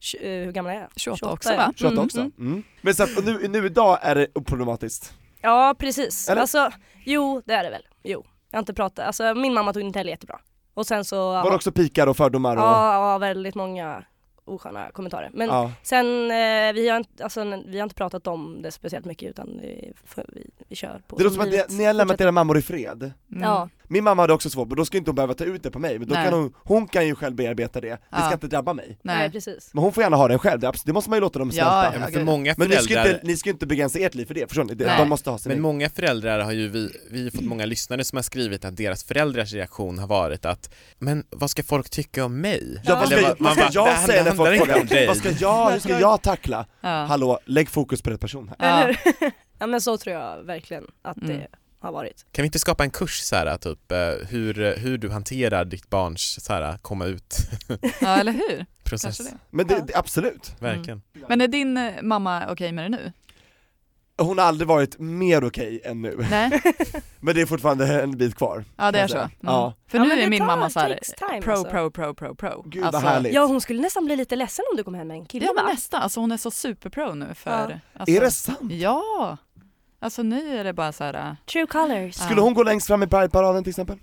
[SPEAKER 5] Tj- eh, hur gammal är jag?
[SPEAKER 4] 28
[SPEAKER 5] 28,
[SPEAKER 4] också
[SPEAKER 5] ja.
[SPEAKER 4] va? Mm-hmm.
[SPEAKER 2] 28
[SPEAKER 5] Mm,
[SPEAKER 2] också?
[SPEAKER 5] mm.
[SPEAKER 2] Mm. Men så att, och nu, nu idag är det oproblematiskt.
[SPEAKER 5] Ja, precis.
[SPEAKER 2] Eller?
[SPEAKER 5] Alltså, jo, det är det väl. Jo. Jag har inte pratat. Alltså, min mamma tog det inte heller jättebra. Och sen så...
[SPEAKER 2] Var det också pikar och fördomar och...
[SPEAKER 5] ja, ja, väldigt många osköna kommentarer. Men
[SPEAKER 2] Ja.
[SPEAKER 5] Sen, eh, vi, har inte, alltså, vi har inte pratat om det speciellt mycket utan vi, vi, vi kör på
[SPEAKER 2] Det låter
[SPEAKER 5] som
[SPEAKER 2] som att ni,
[SPEAKER 5] livet
[SPEAKER 2] ni har lämnat
[SPEAKER 5] fortsätter.
[SPEAKER 2] era mammor i fred.
[SPEAKER 4] Mm.
[SPEAKER 5] Ja,
[SPEAKER 2] Min mamma hade också svårt, men då ska inte hon behöva ta ut det på mig, men då
[SPEAKER 4] Nej.
[SPEAKER 2] kan hon, hon kan ju själv bearbeta det, det ska
[SPEAKER 4] Ja.
[SPEAKER 2] inte drabba mig.
[SPEAKER 5] nej,
[SPEAKER 4] Nej.
[SPEAKER 5] precis.
[SPEAKER 2] Men hon får gärna ha den själv, det, är abs- det måste man ju låta dem
[SPEAKER 4] Ja,
[SPEAKER 2] smälta.
[SPEAKER 3] Ja, men för
[SPEAKER 4] gud.
[SPEAKER 3] många
[SPEAKER 2] Men ni ska, ju
[SPEAKER 3] föräldrar
[SPEAKER 2] inte, ni ska ju inte begränsa ert liv för det, förstår ni? Det,
[SPEAKER 4] Nej.
[SPEAKER 2] de måste ha sin
[SPEAKER 3] Men
[SPEAKER 2] egen.
[SPEAKER 3] många föräldrar har ju, vi, vi har ju fått många lyssnare som har skrivit att deras föräldrars reaktion har varit att Men vad ska folk tycka om mig?
[SPEAKER 2] Ja, vad ska,
[SPEAKER 3] Eller
[SPEAKER 2] jag- vad ska
[SPEAKER 3] man bara, "Det
[SPEAKER 2] jag
[SPEAKER 3] här
[SPEAKER 2] säga när
[SPEAKER 3] handlar
[SPEAKER 2] folk
[SPEAKER 3] inte om
[SPEAKER 2] frågar?
[SPEAKER 3] dig."
[SPEAKER 2] Vad ska jag, hur ska jag tackla?
[SPEAKER 4] Ja.
[SPEAKER 2] Hallå, lägg fokus på rätt person här.
[SPEAKER 4] Ja.
[SPEAKER 5] Eller hur? ja men så tror jag verkligen att
[SPEAKER 4] Mm.
[SPEAKER 5] det har varit.
[SPEAKER 3] Kan vi inte skapa en kurs så här, typ eh, hur, hur du hanterar ditt barns så här, komma ut
[SPEAKER 4] ja, eller hur?
[SPEAKER 3] process?
[SPEAKER 4] Kanske det.
[SPEAKER 2] Men det, det, absolut,
[SPEAKER 3] Verkligen.
[SPEAKER 4] Men är din eh, mamma okej med det nu?
[SPEAKER 2] hon har aldrig varit mer okej än nu,
[SPEAKER 4] Nej?
[SPEAKER 2] men det är fortfarande en bit kvar.
[SPEAKER 4] Ja det är
[SPEAKER 2] jag
[SPEAKER 4] så.
[SPEAKER 2] säga.
[SPEAKER 4] Mm.
[SPEAKER 2] Ja.
[SPEAKER 4] För
[SPEAKER 5] Ja,
[SPEAKER 4] nu
[SPEAKER 5] men
[SPEAKER 4] är
[SPEAKER 5] det
[SPEAKER 4] min
[SPEAKER 5] tar-
[SPEAKER 4] mamma så här,
[SPEAKER 5] takes time,
[SPEAKER 4] pro,
[SPEAKER 5] alltså.
[SPEAKER 4] pro, pro, pro, pro. Alltså,
[SPEAKER 2] Gud vad härligt.
[SPEAKER 5] Ja hon skulle nästan bli lite ledsen om du kom hem med en kille
[SPEAKER 4] Ja men
[SPEAKER 5] va?
[SPEAKER 4] nästan, alltså hon är så superpro nu för... Alltså,
[SPEAKER 2] Är det sant?
[SPEAKER 4] Ja! Alltså nu är det bara så här, äh,
[SPEAKER 5] True colors.
[SPEAKER 2] Skulle hon gå längst fram i Pride-paraden till exempel?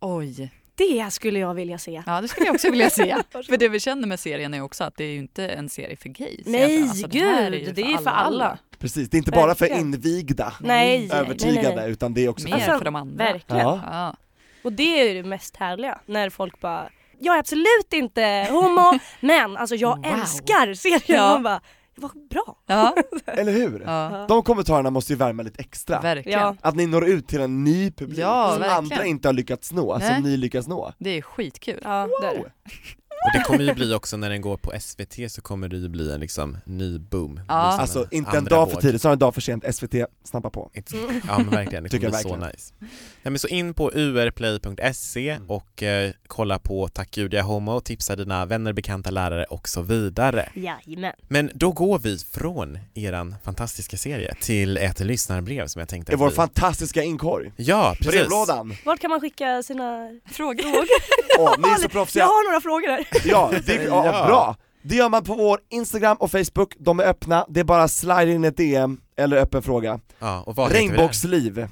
[SPEAKER 4] oj.
[SPEAKER 5] Det skulle jag vilja se.
[SPEAKER 4] Ja det skulle jag också vilja se. för det vi känner med serien är också att det är ju inte en serie för gays.
[SPEAKER 5] Nej,
[SPEAKER 4] egentligen. Alltså, här
[SPEAKER 5] gud, det är ju för alla.
[SPEAKER 2] Precis, det är inte bara för
[SPEAKER 5] Verkligen.
[SPEAKER 2] invigda
[SPEAKER 5] Nej,
[SPEAKER 2] övertygade
[SPEAKER 5] nej, nej.
[SPEAKER 2] utan det är också
[SPEAKER 4] Mer
[SPEAKER 5] Alltså,
[SPEAKER 4] för de andra.
[SPEAKER 5] Verkligen.
[SPEAKER 2] Ja.
[SPEAKER 4] Ja.
[SPEAKER 5] Och det är ju det mest härliga när folk bara jag är absolut inte homo men alltså jag
[SPEAKER 4] Wow.
[SPEAKER 5] älskar serien.
[SPEAKER 4] Ja.
[SPEAKER 5] Man bara, vad bra.
[SPEAKER 4] Ja,
[SPEAKER 2] Eller hur?
[SPEAKER 4] ja,
[SPEAKER 2] De kommentarerna måste ju värma lite extra.
[SPEAKER 4] verkligen.
[SPEAKER 5] Ja.
[SPEAKER 2] Att ni når ut till en ny publik
[SPEAKER 4] Ja,
[SPEAKER 2] som
[SPEAKER 4] verkligen.
[SPEAKER 2] andra inte har lyckats nå,
[SPEAKER 4] Nej.
[SPEAKER 2] som ni lyckas nå.
[SPEAKER 4] Det är skitkul.
[SPEAKER 5] Ja, det är det.
[SPEAKER 3] Och det kommer ju bli också när den går på SVT så kommer det ju bli en liksom ny boom. Det blir
[SPEAKER 4] Ja.
[SPEAKER 3] som
[SPEAKER 2] Alltså inte en
[SPEAKER 3] andra
[SPEAKER 2] dag för
[SPEAKER 3] våg.
[SPEAKER 2] tidigt, snarare en dag för sent, SVT, snabba på.
[SPEAKER 3] Inte- Ja men verkligen, det
[SPEAKER 2] Tycker
[SPEAKER 3] kommer
[SPEAKER 2] jag
[SPEAKER 3] bli så
[SPEAKER 2] verkligen.
[SPEAKER 3] nice. Nej, men så in på urplay.se
[SPEAKER 2] Mm.
[SPEAKER 3] och eh, kolla på Tack Gud Jag är Homo, tipsa dina vänner, bekanta, lärare och så vidare.
[SPEAKER 5] Jajamän.
[SPEAKER 3] Men då går vi från eran fantastiska serie till ett lyssnarbrev som jag tänkte
[SPEAKER 2] I vår
[SPEAKER 3] vi-
[SPEAKER 2] fantastiska inkorg.
[SPEAKER 3] Ja, precis.
[SPEAKER 2] Brevlådan!
[SPEAKER 5] Vart kan man skicka sina
[SPEAKER 4] Frågor?
[SPEAKER 2] Åh, ni är så
[SPEAKER 5] Jag
[SPEAKER 2] proffsiga!
[SPEAKER 5] har några frågor här.
[SPEAKER 2] Ja, det, ja,
[SPEAKER 3] Ja.
[SPEAKER 2] bra! Det gör man på vår Instagram och Facebook, de är öppna, det är bara slide in ett DM eller öppen fråga.
[SPEAKER 3] Ja, och vad heter vi där?
[SPEAKER 2] Regnbågsliv,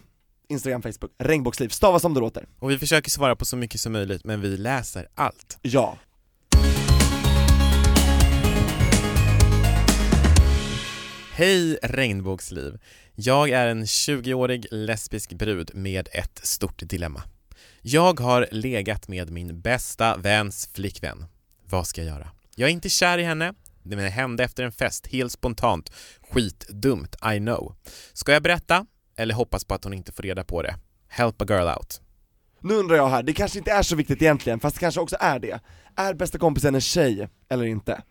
[SPEAKER 2] Instagram, Facebook, regnbågsliv, stava som det låter.
[SPEAKER 3] Och vi försöker svara på så mycket som möjligt men vi läser allt.
[SPEAKER 2] Ja.
[SPEAKER 3] Hej regnbågsliv! Jag är en 20-årig lesbisk brud med ett stort dilemma. Jag har legat med min bästa väns flickvän. Vad ska jag göra? Jag är inte kär i henne, men det hände efter en fest helt spontant. Skitdumt, I know. Ska jag berätta? Eller hoppas på att hon inte får reda på det? Help a girl out.
[SPEAKER 2] Nu undrar jag här, det kanske inte är så viktigt egentligen, fast det kanske också är det. Är bästa kompisen en tjej eller inte?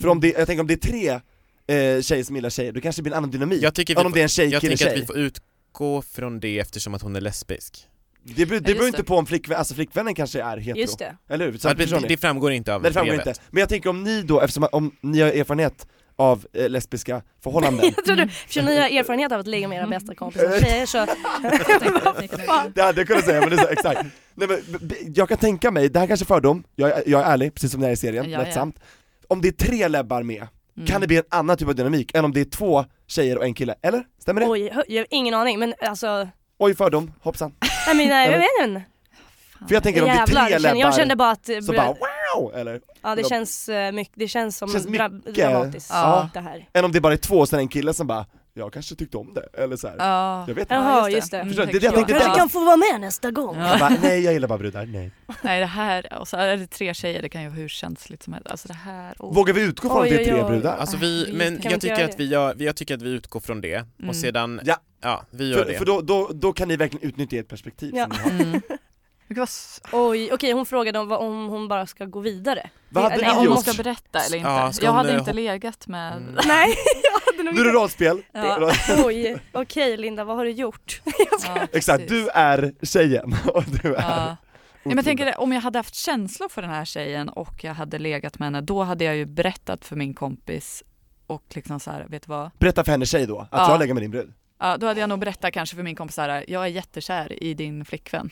[SPEAKER 2] För om det, jag tänker om det är tre eh, tjejer som gillar tjejer, då kanske det blir en annan dynamik.
[SPEAKER 3] Jag tycker vi
[SPEAKER 2] Än om
[SPEAKER 3] får-
[SPEAKER 2] det är en tjej,
[SPEAKER 3] Jag
[SPEAKER 2] kille,
[SPEAKER 3] tänker att vi
[SPEAKER 2] tjej.
[SPEAKER 3] får utgå från det eftersom att hon är lesbisk.
[SPEAKER 2] Det beror, det
[SPEAKER 4] just
[SPEAKER 2] beror inte
[SPEAKER 4] det.
[SPEAKER 2] på om flickvän, alltså flickvännen kanske är hetero,
[SPEAKER 5] Just det.
[SPEAKER 2] eller hur? Så
[SPEAKER 3] Ja,
[SPEAKER 2] att,
[SPEAKER 3] det,
[SPEAKER 2] förstår
[SPEAKER 3] det,
[SPEAKER 2] ni?
[SPEAKER 3] det framgår inte av
[SPEAKER 2] Nej, det framgår
[SPEAKER 3] brevet.
[SPEAKER 2] inte. Men jag tänker om ni då, eftersom att- om ni har erfarenhet av eh, lesbiska förhållanden,
[SPEAKER 5] Jag
[SPEAKER 4] Mm.
[SPEAKER 5] tror du, eftersom ni har erfarenhet av att ligga med era bästa kompisar tjejer så,
[SPEAKER 2] det hade jag kunnat säga, men det är så, exakt. Nej, men, b- b- jag kan tänka mig, det här kanske är fördom, jag, är- jag är ärlig, precis som när jag är i serien,
[SPEAKER 4] Ja, ja.
[SPEAKER 2] lättsamt. Om det är tre läbbar med,
[SPEAKER 4] Mm.
[SPEAKER 2] kan det bli en annan typ av dynamik än om det är två tjejer och en kille, eller? Stämmer det? Oj,
[SPEAKER 5] oj, hö- jag har ingen aning men alltså,
[SPEAKER 2] fördom, hoppsan.
[SPEAKER 5] nej men nej, jag vet inte.
[SPEAKER 2] För jag tänker om det är
[SPEAKER 5] Jävlar,
[SPEAKER 2] tre
[SPEAKER 5] jag kände, jag
[SPEAKER 2] läbbar
[SPEAKER 5] kände bara att eh,
[SPEAKER 2] så bara wow, eller?
[SPEAKER 5] ja, det känns eh, mycket, det känns som
[SPEAKER 2] Känns
[SPEAKER 5] dra-
[SPEAKER 2] mycket.
[SPEAKER 5] dramatiskt
[SPEAKER 2] Ja.
[SPEAKER 5] det här.
[SPEAKER 2] Än om det bara är två och sen en kille som bara, jag kanske tyckte om det, eller så här.
[SPEAKER 4] Ja.
[SPEAKER 2] Jag vet inte.
[SPEAKER 5] Jaha, just det.
[SPEAKER 4] Mm,
[SPEAKER 2] Förstår du?
[SPEAKER 4] tack
[SPEAKER 2] Det jag
[SPEAKER 4] så
[SPEAKER 2] tänkte
[SPEAKER 4] mycket.
[SPEAKER 2] direkt.
[SPEAKER 5] Kanske kan få vara med nästa gång.
[SPEAKER 4] Ja.
[SPEAKER 2] Jag bara, nej jag gillar bara brudar, nej.
[SPEAKER 4] Nej det här, och så är det tre tjejer, det kan ju vara hur känsligt som helst. Alltså det här, åh.
[SPEAKER 2] Vågar vi utgå från att
[SPEAKER 5] Oj,
[SPEAKER 2] det är
[SPEAKER 5] oj,
[SPEAKER 2] tre
[SPEAKER 5] oj.
[SPEAKER 2] brudar?
[SPEAKER 3] Alltså
[SPEAKER 4] Ah,
[SPEAKER 3] vi,
[SPEAKER 4] vi
[SPEAKER 3] men
[SPEAKER 5] kan
[SPEAKER 3] jag
[SPEAKER 5] inte
[SPEAKER 3] tycker,
[SPEAKER 5] göra
[SPEAKER 3] att
[SPEAKER 5] det.
[SPEAKER 3] vi gör, jag tycker att vi utgår från det
[SPEAKER 4] Mm.
[SPEAKER 3] och sedan,
[SPEAKER 2] Ja.
[SPEAKER 3] ja vi gör
[SPEAKER 2] För,
[SPEAKER 3] det.
[SPEAKER 2] för då, då, då kan ni verkligen utnyttja ert perspektiv
[SPEAKER 5] Ja.
[SPEAKER 2] som ni har.
[SPEAKER 4] Mm. Det kan vara s-
[SPEAKER 5] Oj, okej hon frågade om, vad- om hon bara ska gå vidare.
[SPEAKER 2] Vad hade
[SPEAKER 4] Nej,
[SPEAKER 2] ni
[SPEAKER 4] om hon
[SPEAKER 2] gjort?
[SPEAKER 4] ska berätta eller inte.
[SPEAKER 3] Ja, ska
[SPEAKER 4] jag
[SPEAKER 3] hon,
[SPEAKER 4] hade
[SPEAKER 3] eh,
[SPEAKER 4] inte
[SPEAKER 3] hop-
[SPEAKER 4] legat med...
[SPEAKER 3] Mm.
[SPEAKER 5] Nej, jag hade nog
[SPEAKER 2] Nu är det rollspel,
[SPEAKER 5] Ja. Oj, okej Linda vad har du gjort?
[SPEAKER 4] Ja,
[SPEAKER 2] exakt,
[SPEAKER 4] precis.
[SPEAKER 2] du är tjejen och du är
[SPEAKER 4] Ja. Ja, men jag
[SPEAKER 2] otrogen.
[SPEAKER 4] tänker om jag hade haft känslor för den här tjejen och jag hade legat med henne, då hade jag ju berättat för min kompis och liksom så här, vet du vad?
[SPEAKER 2] Berätta för henne tjej då, att
[SPEAKER 4] Ja.
[SPEAKER 2] jag lägger med din brud.
[SPEAKER 4] Ja, då hade jag nog berättat kanske för min kompis så här, jag är jättekär i din flickvän.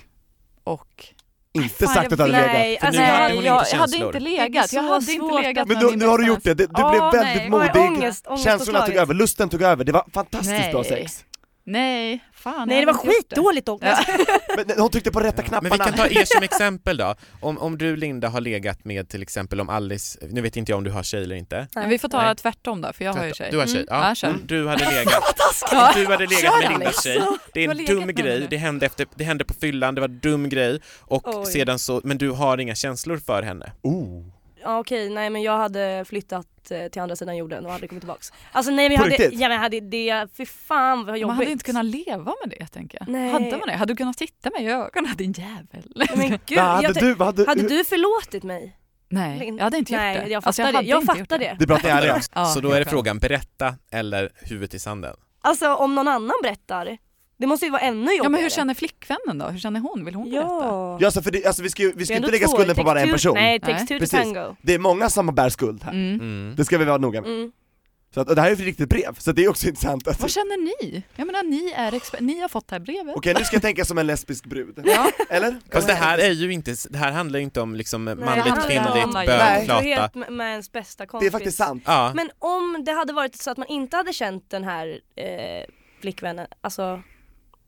[SPEAKER 4] Och
[SPEAKER 2] Inte
[SPEAKER 4] Fan,
[SPEAKER 2] sagt
[SPEAKER 4] jag
[SPEAKER 2] att du hade
[SPEAKER 5] vet-
[SPEAKER 2] legat.
[SPEAKER 5] Nej,
[SPEAKER 3] För nu
[SPEAKER 5] alltså,
[SPEAKER 3] hade hon
[SPEAKER 4] jag,
[SPEAKER 3] inte
[SPEAKER 4] jag hade
[SPEAKER 3] känslor.
[SPEAKER 4] inte
[SPEAKER 5] Det är
[SPEAKER 4] legat,
[SPEAKER 5] så
[SPEAKER 4] jag hade inte
[SPEAKER 5] svårt.
[SPEAKER 4] legat
[SPEAKER 2] Men
[SPEAKER 4] med
[SPEAKER 2] då,
[SPEAKER 4] min
[SPEAKER 2] nu har du
[SPEAKER 4] bästa
[SPEAKER 2] gjort det, du, du
[SPEAKER 4] Ja,
[SPEAKER 2] blev väldigt
[SPEAKER 4] nej.
[SPEAKER 5] Oj,
[SPEAKER 2] modig,
[SPEAKER 5] ångest, ångest
[SPEAKER 2] känslorna tog
[SPEAKER 5] påtagligt.
[SPEAKER 2] över, lusten tog över, det var fantastiskt bra
[SPEAKER 4] Nej.
[SPEAKER 2] sex.
[SPEAKER 4] Nej, fan.
[SPEAKER 5] Nej det
[SPEAKER 4] jag
[SPEAKER 5] var
[SPEAKER 4] hade inte gjort
[SPEAKER 5] skitdåligt dock.
[SPEAKER 4] Ja.
[SPEAKER 2] Men nej, hon tryckte på rätta
[SPEAKER 3] Men vi
[SPEAKER 2] knapparna.
[SPEAKER 3] kan ta er som exempel då. Om, om du Linda har legat med till exempel om Alice, nu vet inte jag om du har tjej eller inte.
[SPEAKER 4] Men vi får ta
[SPEAKER 3] Nej.
[SPEAKER 4] tvärtom då, för jag har ju tjej.
[SPEAKER 3] Du har tjej,
[SPEAKER 4] Ja,
[SPEAKER 3] ja.
[SPEAKER 4] kör.
[SPEAKER 3] Mm. Du hade legat,
[SPEAKER 4] Ja.
[SPEAKER 3] du hade legat
[SPEAKER 4] Kör,
[SPEAKER 3] med Lindas
[SPEAKER 4] Alice.
[SPEAKER 3] tjej. Det är
[SPEAKER 4] Du har
[SPEAKER 3] en
[SPEAKER 4] legat
[SPEAKER 3] dum
[SPEAKER 4] med henne
[SPEAKER 3] grej,
[SPEAKER 4] nu.
[SPEAKER 3] det hände, efter, det hände på fyllan, det var en dum grej och
[SPEAKER 5] Oj.
[SPEAKER 3] sedan så, men du har inga känslor för henne.
[SPEAKER 2] Oh.
[SPEAKER 5] Ja okej, nej men jag hade flyttat eh, till andra sidan jorden och aldrig kommit tillbaks. Alltså nej men jag
[SPEAKER 2] På
[SPEAKER 5] hade,
[SPEAKER 2] riktigt?
[SPEAKER 5] ja, men jag hade det, fy fan vad jobbigt.
[SPEAKER 4] Man hade inte kunnat leva med det tänker jag.
[SPEAKER 5] Nej.
[SPEAKER 4] Hade man det? Hade du kunnat titta mig i ögonen din jävel?
[SPEAKER 5] Nej, Men gud,
[SPEAKER 2] Vad hade
[SPEAKER 5] jag tänkte-
[SPEAKER 2] du, vad hade,
[SPEAKER 5] hade
[SPEAKER 2] hur-
[SPEAKER 5] du förlåtit mig?
[SPEAKER 4] Nej, jag hade inte gjort
[SPEAKER 5] nej,
[SPEAKER 4] det.
[SPEAKER 5] jag fattar
[SPEAKER 4] Alltså,
[SPEAKER 5] det.
[SPEAKER 4] hade
[SPEAKER 5] Jag
[SPEAKER 4] inte gjort
[SPEAKER 5] fattar det.
[SPEAKER 2] Det är bra att ni är ärliga.
[SPEAKER 4] Ja,
[SPEAKER 3] så då är det
[SPEAKER 4] helt klart.
[SPEAKER 3] frågan berätta eller huvudet i sanden.
[SPEAKER 5] Alltså om någon annan berättar, det måste ju vara ännu jobbigare.
[SPEAKER 4] Ja men hur känner flickvännen då? Hur känner hon? Vill hon berätta?
[SPEAKER 5] Ja.
[SPEAKER 2] Ja, alltså, för det, alltså vi ska ju vi
[SPEAKER 5] Det
[SPEAKER 2] ska
[SPEAKER 5] är
[SPEAKER 2] inte
[SPEAKER 5] ändå
[SPEAKER 2] lägga
[SPEAKER 5] två.
[SPEAKER 2] skulden på
[SPEAKER 5] Takes
[SPEAKER 2] bara en
[SPEAKER 5] two-
[SPEAKER 2] person.
[SPEAKER 5] Nej,
[SPEAKER 4] Nej.
[SPEAKER 5] takes two to
[SPEAKER 2] Precis.
[SPEAKER 5] tango.
[SPEAKER 2] Det är många som bär skuld här,
[SPEAKER 4] Mm.
[SPEAKER 3] Mm.
[SPEAKER 2] det ska vi vara noga med.
[SPEAKER 5] Mm.
[SPEAKER 2] Så att, och det här är ju ett riktigt brev, så det är också intressant att
[SPEAKER 4] Vad känner ni? Jag menar ni är exper- ni har fått det här brevet.
[SPEAKER 2] Okej, nu ska jag tänka som en lesbisk brud.
[SPEAKER 4] Ja.
[SPEAKER 2] Eller?
[SPEAKER 3] Fast det här är ju inte, det här handlar ju inte om liksom
[SPEAKER 4] handlar
[SPEAKER 3] manligt,
[SPEAKER 4] ju om-
[SPEAKER 3] kvinnligt,
[SPEAKER 2] Nej.
[SPEAKER 3] bögflata.
[SPEAKER 5] Otrohet med- med ens bästa kompis.
[SPEAKER 2] Det är faktiskt sant.
[SPEAKER 3] Ja.
[SPEAKER 5] Men om det hade varit så att man inte hade känt den här eh, flickvännen, alltså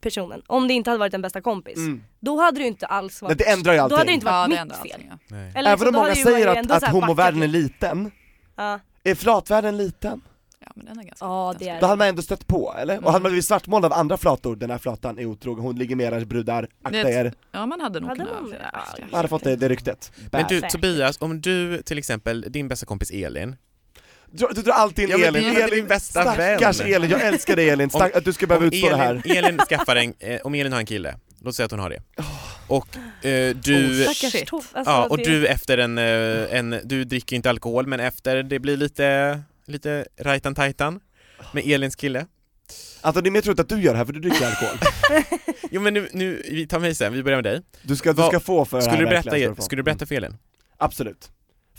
[SPEAKER 5] personen, om det inte hade varit den bästa kompis,
[SPEAKER 2] Mm.
[SPEAKER 5] då hade det ju inte alls
[SPEAKER 2] Nej,
[SPEAKER 5] varit,
[SPEAKER 2] det ändrar ju
[SPEAKER 5] då
[SPEAKER 2] allting.
[SPEAKER 5] hade det inte
[SPEAKER 4] Ja,
[SPEAKER 5] varit
[SPEAKER 4] det är
[SPEAKER 5] mitt
[SPEAKER 4] ändå
[SPEAKER 5] fel.
[SPEAKER 4] allting, ja.
[SPEAKER 3] Nej.
[SPEAKER 5] Eller
[SPEAKER 2] Även
[SPEAKER 5] liksom,
[SPEAKER 2] om
[SPEAKER 5] då
[SPEAKER 2] många
[SPEAKER 5] hade det ju
[SPEAKER 2] säger
[SPEAKER 5] varit
[SPEAKER 2] att,
[SPEAKER 5] ändå så
[SPEAKER 2] att
[SPEAKER 5] här
[SPEAKER 2] homovärlden är
[SPEAKER 5] backat.
[SPEAKER 2] liten,
[SPEAKER 5] Ja,
[SPEAKER 2] är flatvärlden liten?
[SPEAKER 4] Ja, men den är ganska
[SPEAKER 5] ja
[SPEAKER 4] liten,
[SPEAKER 5] det är
[SPEAKER 2] Då
[SPEAKER 5] det.
[SPEAKER 2] hade man ändå stött på, eller? Och
[SPEAKER 4] Mm.
[SPEAKER 2] hade man blivit svartmålad av andra flator, den här flatan är otrogen, hon ligger med era brudar, akta
[SPEAKER 4] Det-
[SPEAKER 2] er.
[SPEAKER 4] Ja man hade nog
[SPEAKER 5] Hade
[SPEAKER 4] kunnat...
[SPEAKER 5] man det?
[SPEAKER 4] Ja,
[SPEAKER 2] Man hade fått det, det ryktet.
[SPEAKER 3] Men du
[SPEAKER 5] Säkert.
[SPEAKER 3] Tobias, om du till exempel, din bästa kompis Elin,
[SPEAKER 2] Du, du drar alltid in
[SPEAKER 3] Ja, men
[SPEAKER 2] Elin,
[SPEAKER 3] det är väl
[SPEAKER 2] Elin,
[SPEAKER 3] din bästa
[SPEAKER 2] stackars
[SPEAKER 3] vän.
[SPEAKER 2] Elin, jag älskar dig Elin, Stack, att du ska behöva
[SPEAKER 3] om
[SPEAKER 2] utstå det här.
[SPEAKER 3] Elin, Elin skaffar en, eh, om Elin har en kille, låt säga att hon har det. och eh, du
[SPEAKER 4] Oh,
[SPEAKER 5] Stackars
[SPEAKER 4] Shit.
[SPEAKER 5] Tove. Alltså,
[SPEAKER 3] Ja, och
[SPEAKER 5] det-
[SPEAKER 3] du efter en, eh, en, du dricker ju inte alkohol men efter det blir lite, lite rajtan tajtan med Elins kille.
[SPEAKER 2] Anton Alltså, det är mer troligt att du gör det här för du dricker alkohol.
[SPEAKER 3] Jo men nu, nu vi tar mig sen, vi börjar med dig.
[SPEAKER 2] Du ska, du
[SPEAKER 3] Vad-
[SPEAKER 2] ska få för det
[SPEAKER 3] Skulle
[SPEAKER 2] här
[SPEAKER 3] du
[SPEAKER 2] verkligen, ska
[SPEAKER 3] berätta,
[SPEAKER 2] få.
[SPEAKER 3] skulle du
[SPEAKER 2] Mm,
[SPEAKER 3] berätta för Elin?
[SPEAKER 2] Absolut.